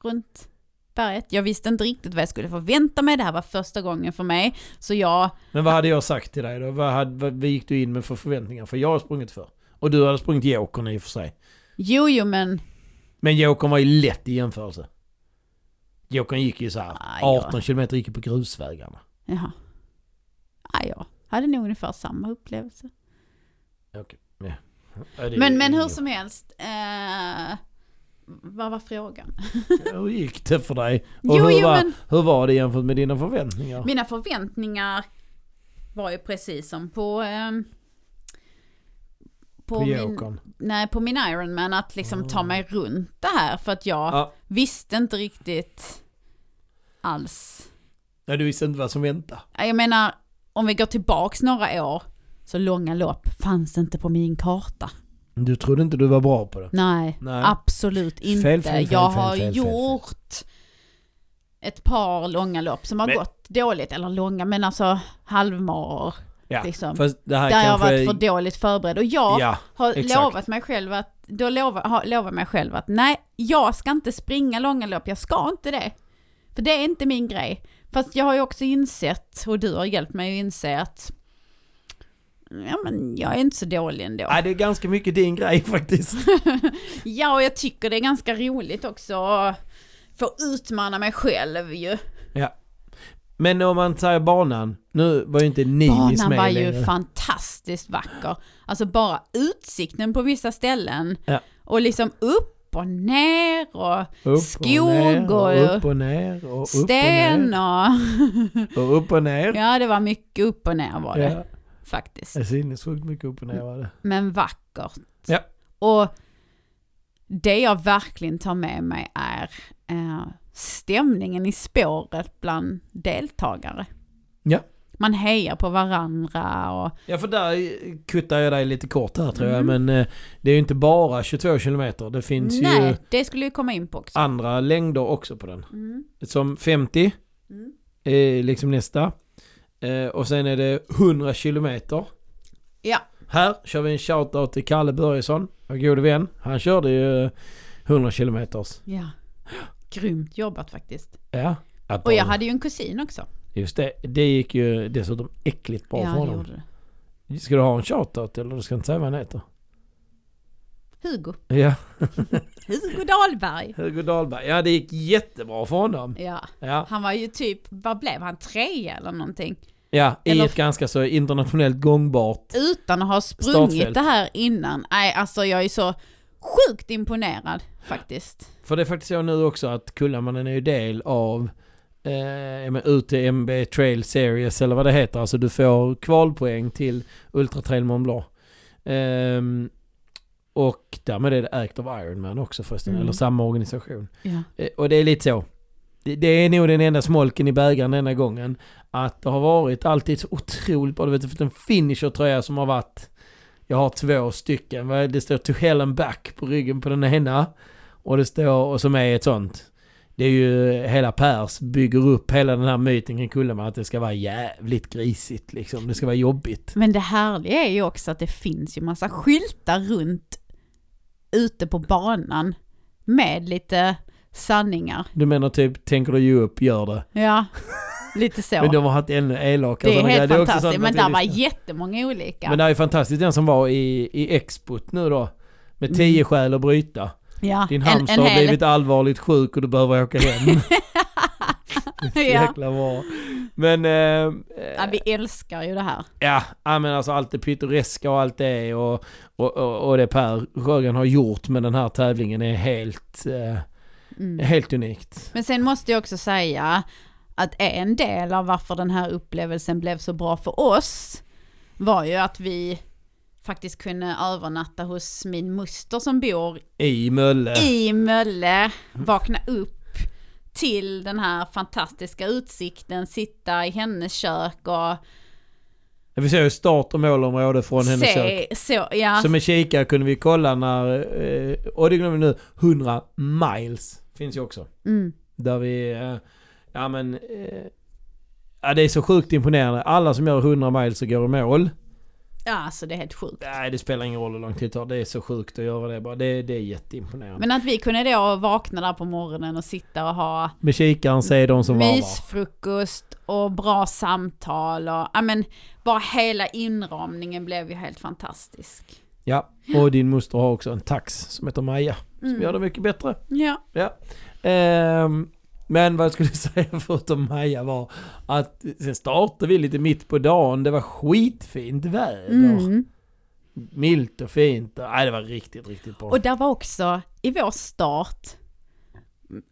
Runt berget. Jag visste inte riktigt vad jag skulle förvänta mig. Det här var första gången för mig. Så jag, Men vad hade jag sagt till dig då? Vad, hade, vad, vad gick du in med för förväntningar? För jag har sprungit för. Och du hade sprungit jokern i och för sig. jo jo men Men jokern var ju lätt i jämförelse. Jokern gick ju så här, Aj, Ah, ja. 18 km gick ju på grusvägarna. Jaha. Ah, Ja, jag hade nog ungefär samma upplevelse. Okej. Ja. Ja, det Men, är men hur ingen- som helst. Eh, vad var frågan? Hur gick det för dig? Jo, Och hur, jo, var, men- hur var det jämfört med dina förväntningar? Mina förväntningar var ju precis som på... ehm, på min, jokern? nej, på min Ironman, att liksom ta Mm. mig runt det här. För att jag Ja. visste inte riktigt alls. Nej, du visste inte vad som väntade. Jag menar, om vi går tillbaks några år, så långa lopp fanns inte på min karta. Du trodde inte du var bra på det. Nej, Nej. absolut inte. fel, fel, jag fel, har fel, fel, fel. gjort ett par långa lopp som har Men- gått dåligt, eller långa, men alltså halvmaror. Ja, liksom. fast det här Där jag har kanske... varit för dåligt förberedd. Och jag Ja, har exakt. lovat mig själv att, då lovar, har lovat mig själv att nej, jag ska inte springa långa lopp, jag ska inte det. För det är inte min grej. Fast jag har ju också insett, och du har hjälpt mig att inse att ja men jag är inte så dålig ändå. Nej, det är ganska mycket din grej faktiskt. Ja, och jag tycker det är ganska roligt också att få utmana mig själv ju. Men om man säger banan, nu var ju inte Ninis Banan var med ju längre. fantastiskt vacker. Alltså bara utsikten på vissa ställen. Ja. Och liksom upp och ner och Upp och ner, skog och och upp och ner och upp sten och... och ner. Och upp och ner. Ja, det var mycket upp och ner var det Ja, faktiskt. det är sinnessjukt mycket upp och ner var det. Men vackert. Ja. Och det jag verkligen tar med mig är eh, stämningen i spåret bland deltagare. Ja. Man hejar på varandra och Ja för där eh, kuttar jag dig lite kort här tror jag Mm. men eh, det är ju inte bara 22 kilometer. Det finns Nej, ju det skulle vi komma in på också. andra längder också på den. Mm. Som 50 Mm. är liksom nästa. Eh, och sen är det 100 kilometer. Ja. Här kör vi en shoutout till Kalle Börjesson, vår gode vän. Han körde ju eh, 100 kilometers. ja. Grymt jobbat faktiskt. Ja. Att Och jag bara- hade ju en kusin också. Just det, det gick ju dessutom äckligt bra ja, för det honom. gjorde det. Ska du ha en shoutout eller du ska inte säga vad han heter? Hugo. Ja, Hugo Dahlberg. Hugo Dahlberg. Ja, det gick jättebra för honom. Ja, Ja, han var ju typ, vad blev han, tre eller någonting? ja i Eller- ett ganska så internationellt gångbart. Utan att ha sprungit Startfält. det här innan. Nej, alltså jag är så sjukt imponerad faktiskt. För det är faktiskt så nu också att Kullamannen är ju del av eh, ja, men UTMB Trail Series eller vad det heter. Alltså du får kvalpoäng till Ultra Trail Mont Blanc. Ehm, och därmed är det Act of Ironman också förresten, Mm. eller samma organisation. Ja. Eh, Och det är lite så. Det- Det är nog den enda smolken i bägaren denna gången. Att det har varit alltid så otroligt bra. Du vet, för en finishertröja som har varit... Jag har två stycken. Vad är det? Det står To Hell and Back på ryggen på den ena. Och det står, och som är ett sånt. Det är ju hela Pers bygger upp hela den här myten kring Kulleman att det ska vara jävligt grisigt liksom. Det ska vara jobbigt. Men det härliga är ju också att det finns ju massa skyltar runt ute på banan med lite sanningar. Du menar typ, tänker du ge upp, gör det. Ja, lite så. Men de har haft ännu elakare det är sådana grejer. helt också fantastiskt, sånt man men inte där var lyssnar. jättemånga olika. Men det är ju fantastiskt den som var i, i expot nu då. Med Mm. tio skäl att bryta. ja, Din hamster har blivit allvarligt sjuk och du behöver åka hem. ja. Jäkla bra. Men eh, ja, vi älskar ju det här. ja, ja, men alltså allt det pittoreska och allt det och, och, och, och det Per Sjögren har gjort med den här tävlingen är helt, eh, Mm. helt unikt. Men sen måste jag också säga att en del av varför den här upplevelsen blev så bra för oss var ju att vi faktiskt kunde övernatta hos min moster som bor I Mölle. i Mölle, vakna upp till den här fantastiska utsikten, sitta i hennes kök och Vi ser ju start och målområde från hennes kök. se, så, ja, Som en kikare kunde vi kolla när, eh, och det glömmer vi nu, 100 miles finns ju också. mm, Där vi... eh, Ja men... eh, Ja, det är så sjukt imponerande. Alla som gör 100 miles och går i mål. ja, alltså det är helt sjukt. Nej, det spelar ingen roll hur lång tid det tar. Det är så sjukt att göra det bara. Det, det är jätteimponerande. Men att vi kunde då vakna där på morgonen och sitta och ha Med kikaren säger de som varvar. mysfrukost och bra samtal och ja men bara hela inramningen blev ju helt fantastisk. Ja, och din moster har också en tax som heter Maja. Som Mm. gör det mycket bättre. Ja, Ehm, men vad jag skulle säga förutom Maja var att sen startade vi lite mitt på dagen. Det var skitfint väder. mm. Milt och fint. Nej, det var riktigt, riktigt bra. och där var också i vår start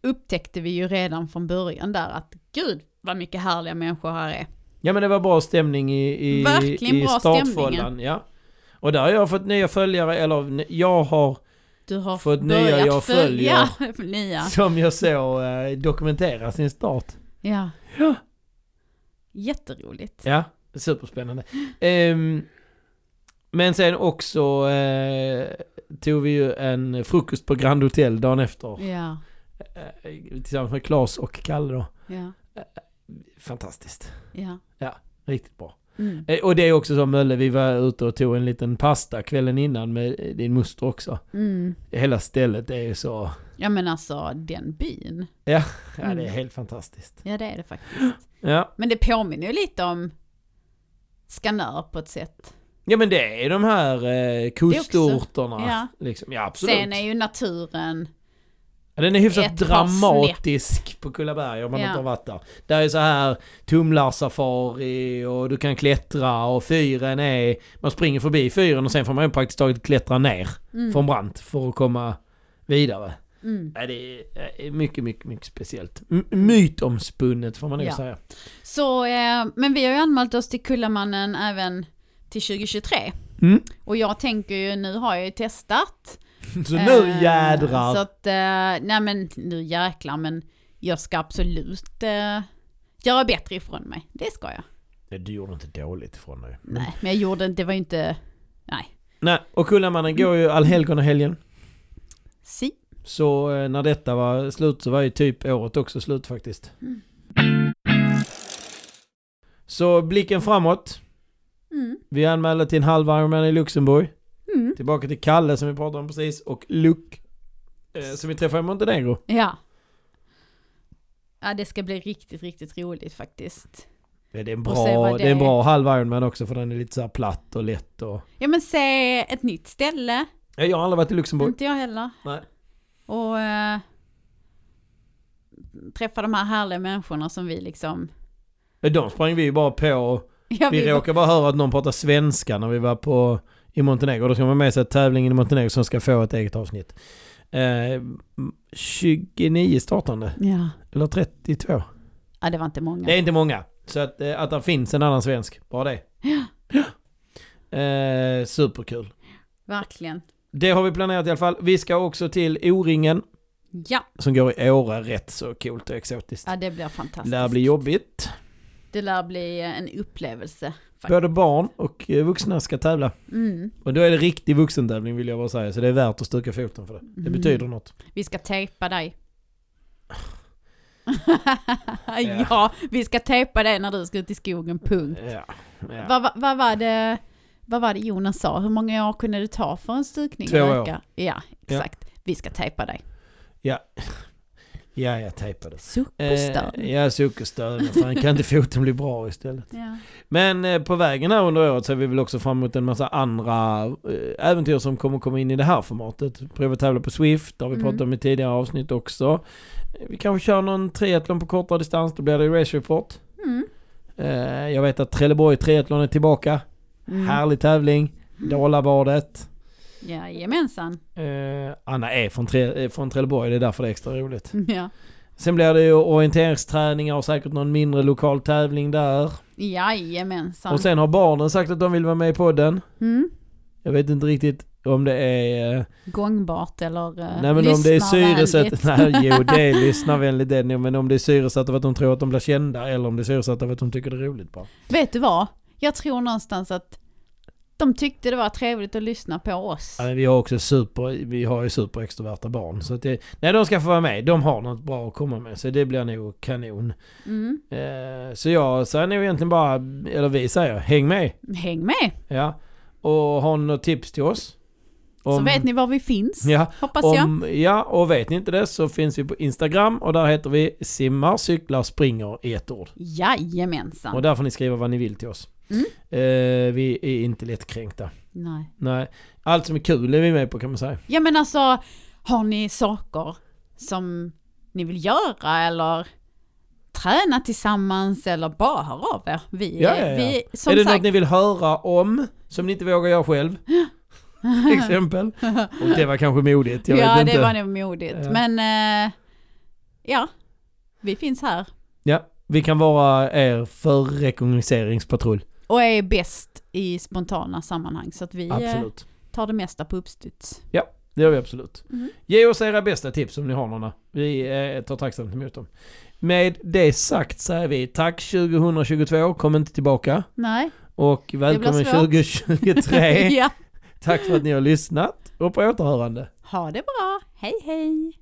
upptäckte vi ju redan från början där att gud vad mycket härliga människor här är. Ja men det var bra stämning i, i, Verkligen i bra startfållan. Ja. Och där har jag fått nya följare, eller jag har, Du har För att nya börjat jag följa nya. som jag såg, eh, dokumentera sin start. Ja. Ja. Jätteroligt. Ja, superspännande. Ehm, men sen också eh, tog vi ju en frukost på Grand Hotel dagen efter. Ja. Eh, tillsammans med Claes och Kalle då. Ja. Fantastiskt. Ja. Riktigt bra. Mm. Eh, och det är också som Mölle, vi var ute och tog en liten pasta kvällen innan med eh, din moster också. Mm. Hela stället är ju så... Ja men alltså den byn. Ja, det är Mm. helt fantastiskt. Ja det är det faktiskt. Ja, Men det påminner ju lite om Skanör på ett sätt. Ja men det är de här eh, kustorterna. ja. Liksom. ja absolut. Sen är ju naturen... Ja, den är hyfsat Ett par dramatisk på Kullaberg om man Ja. inte har varit där. Där är så här tumlarsafari och du kan klättra och fyren är... Man springer förbi fyren och sen får man ju praktiskt taget klättra ner Mm, från brant för att komma vidare. mm. Ja, det är eh, mycket, mycket, mycket speciellt. M- mytomspunnet får man nog Ja. säga. Så, eh, men vi har ju anmält oss till Kullamannen även till 2023. Mm. Och jag tänker ju, nu har jag ju testat. Så nu Eh, jädrar! Så att, eh, nej men nu jäklar men jag ska absolut eh, göra bättre ifrån mig. Det ska jag. Ja, du gjorde inte dåligt från dig. Nej, men jag gjorde inte, det var ju inte, nej. Nej, och Kullamannen går ju allhelgonahelgen. Si. Så eh, när detta var slut så var ju typ året också slut faktiskt. Mm. Så blicken framåt. Mm. Vi anmälde till en halv Ironman i Luxemburg. Mm. Tillbaka till Kalle som vi pratade om precis och Luc eh, som vi träffade i Montenegro. Ja. Ja, det ska bli riktigt, riktigt roligt faktiskt. Det är en Och se bra, vad det... det är en är. bra halv Ironman också för den är lite så här platt och lätt och... Ja men se ett nytt ställe. Ja, Jag har aldrig varit i Luxemburg. Inte jag heller. Nej. Och eh, träffa de här härliga människorna som vi liksom... De sprang vi ju bara på. Ja, Vi råkade bara höra att någon pratade svenska när vi var på i Montenegro. Då ska man med sig tävlingen i Montenegro som ska få ett eget avsnitt. Eh, 29 startande, Ja. eller 32. ja, det var inte många. Det är inte många. Så att, eh, att det finns en annan svensk, bara det. Ja. Eh, superkul. Verkligen. Det har vi planerat i alla fall. Vi ska också till O-ringen Ja. som går i Åre. Rätt så coolt och exotiskt. ja, det blir fantastiskt. Lär bli jobbigt. Det lär bli eh, en upplevelse. Faktiskt. Både barn och eh, vuxna ska tävla. Mm. Och då är det riktig vuxentävling vill jag bara säga. Så det är värt att stryka foten för det. Det Mm. betyder något. Vi ska tejpa dig. Ja. ja, vi ska tejpa dig när du ska ut i skogen, punkt. Ja. ja. Vad, vad, vad, var det, vad var det Jonas sa? Hur många år kunde du ta för en stukning? Två och år. öka? Ja, exakt. Vi ska tejpa dig. ja, jag tejpade. Suck på Eh, stan. ja, sockerstöd. Fan, kan inte foten bli bra istället? Ja. Men eh, på vägen här under året så är vi väl också fram emot en massa andra eh, äventyr som kommer komma in i det här formatet. Prova att tävla på Swift, det har vi Mm. pratat om i tidigare avsnitt också. Eh, Vi kanske kör någon triathlon på kortare distans, då blir det Race Report. Mm. Eh, Jag vet att Trelleborg triathlon är tillbaka. Mm. Härlig tävling. Dalabadet. Jajamensan. Eh, Anna är från, tre, eh, från Trelleborg, det är därför det är extra roligt. Ja. Sen blir det ju orienteringsträningar och säkert någon mindre lokal tävling där. Jajamensan. Och sen har barnen sagt att de vill vara med i podden. Mm. Jag vet inte riktigt om det är... eh, Gångbart eller eh, nej men om det är lyssnarvänligt. syresatt... Nej jo det är lyssnarvänligt det är nog, men om det är syresatt av att de tror att de blir kända eller om det är syresatt av att de tycker det är roligt bara. Vet du vad? Jag tror någonstans att de tyckte det var trevligt att lyssna på oss. Ja, men vi har också super, vi har ju superextroverta barn så att det, Nej de ska få vara med, de har något bra att komma med så det blir nog kanon. Mm. Eh, så jag säger nog egentligen bara, eller vi säger, häng med! Häng med, Ja. Och har ni något tips till oss? så vet ni var vi finns. Ja, Hoppas jag. Om, ja, och vet ni inte det så finns vi på Instagram och där heter vi simmar, cyklar, springer i ett ord. Och Jajamensan. där får ni skriva vad ni vill till oss. Mm. Eh, vi är inte lättkränkta. Nej. Nej, allt som är kul är vi med på kan man säga. Ja men alltså, har ni saker som ni vill göra eller träna tillsammans eller bara hör av er. Vi, Ja, ja, ja. vi som är det sagt, något ni vill höra om som ni inte vågar göra själv? till exempel. Och det var kanske modigt, jag ja vet inte. det var nog modigt. Ja. Men eh, ja, vi finns här Ja, vi kan vara er förrekognosceringspatrull. och är bäst i spontana sammanhang så att vi eh, Absolut. tar det mesta på uppstuds. Det gör vi absolut. Mm. Ge oss era bästa tips om ni har några. Vi eh, tar tacksamt emot dem. Med det sagt säger vi tack 2022, kom inte tillbaka. Nej, Och välkommen svårt. 2023. ja. tack för att ni har lyssnat och på återhörande. Ha det bra, hej hej!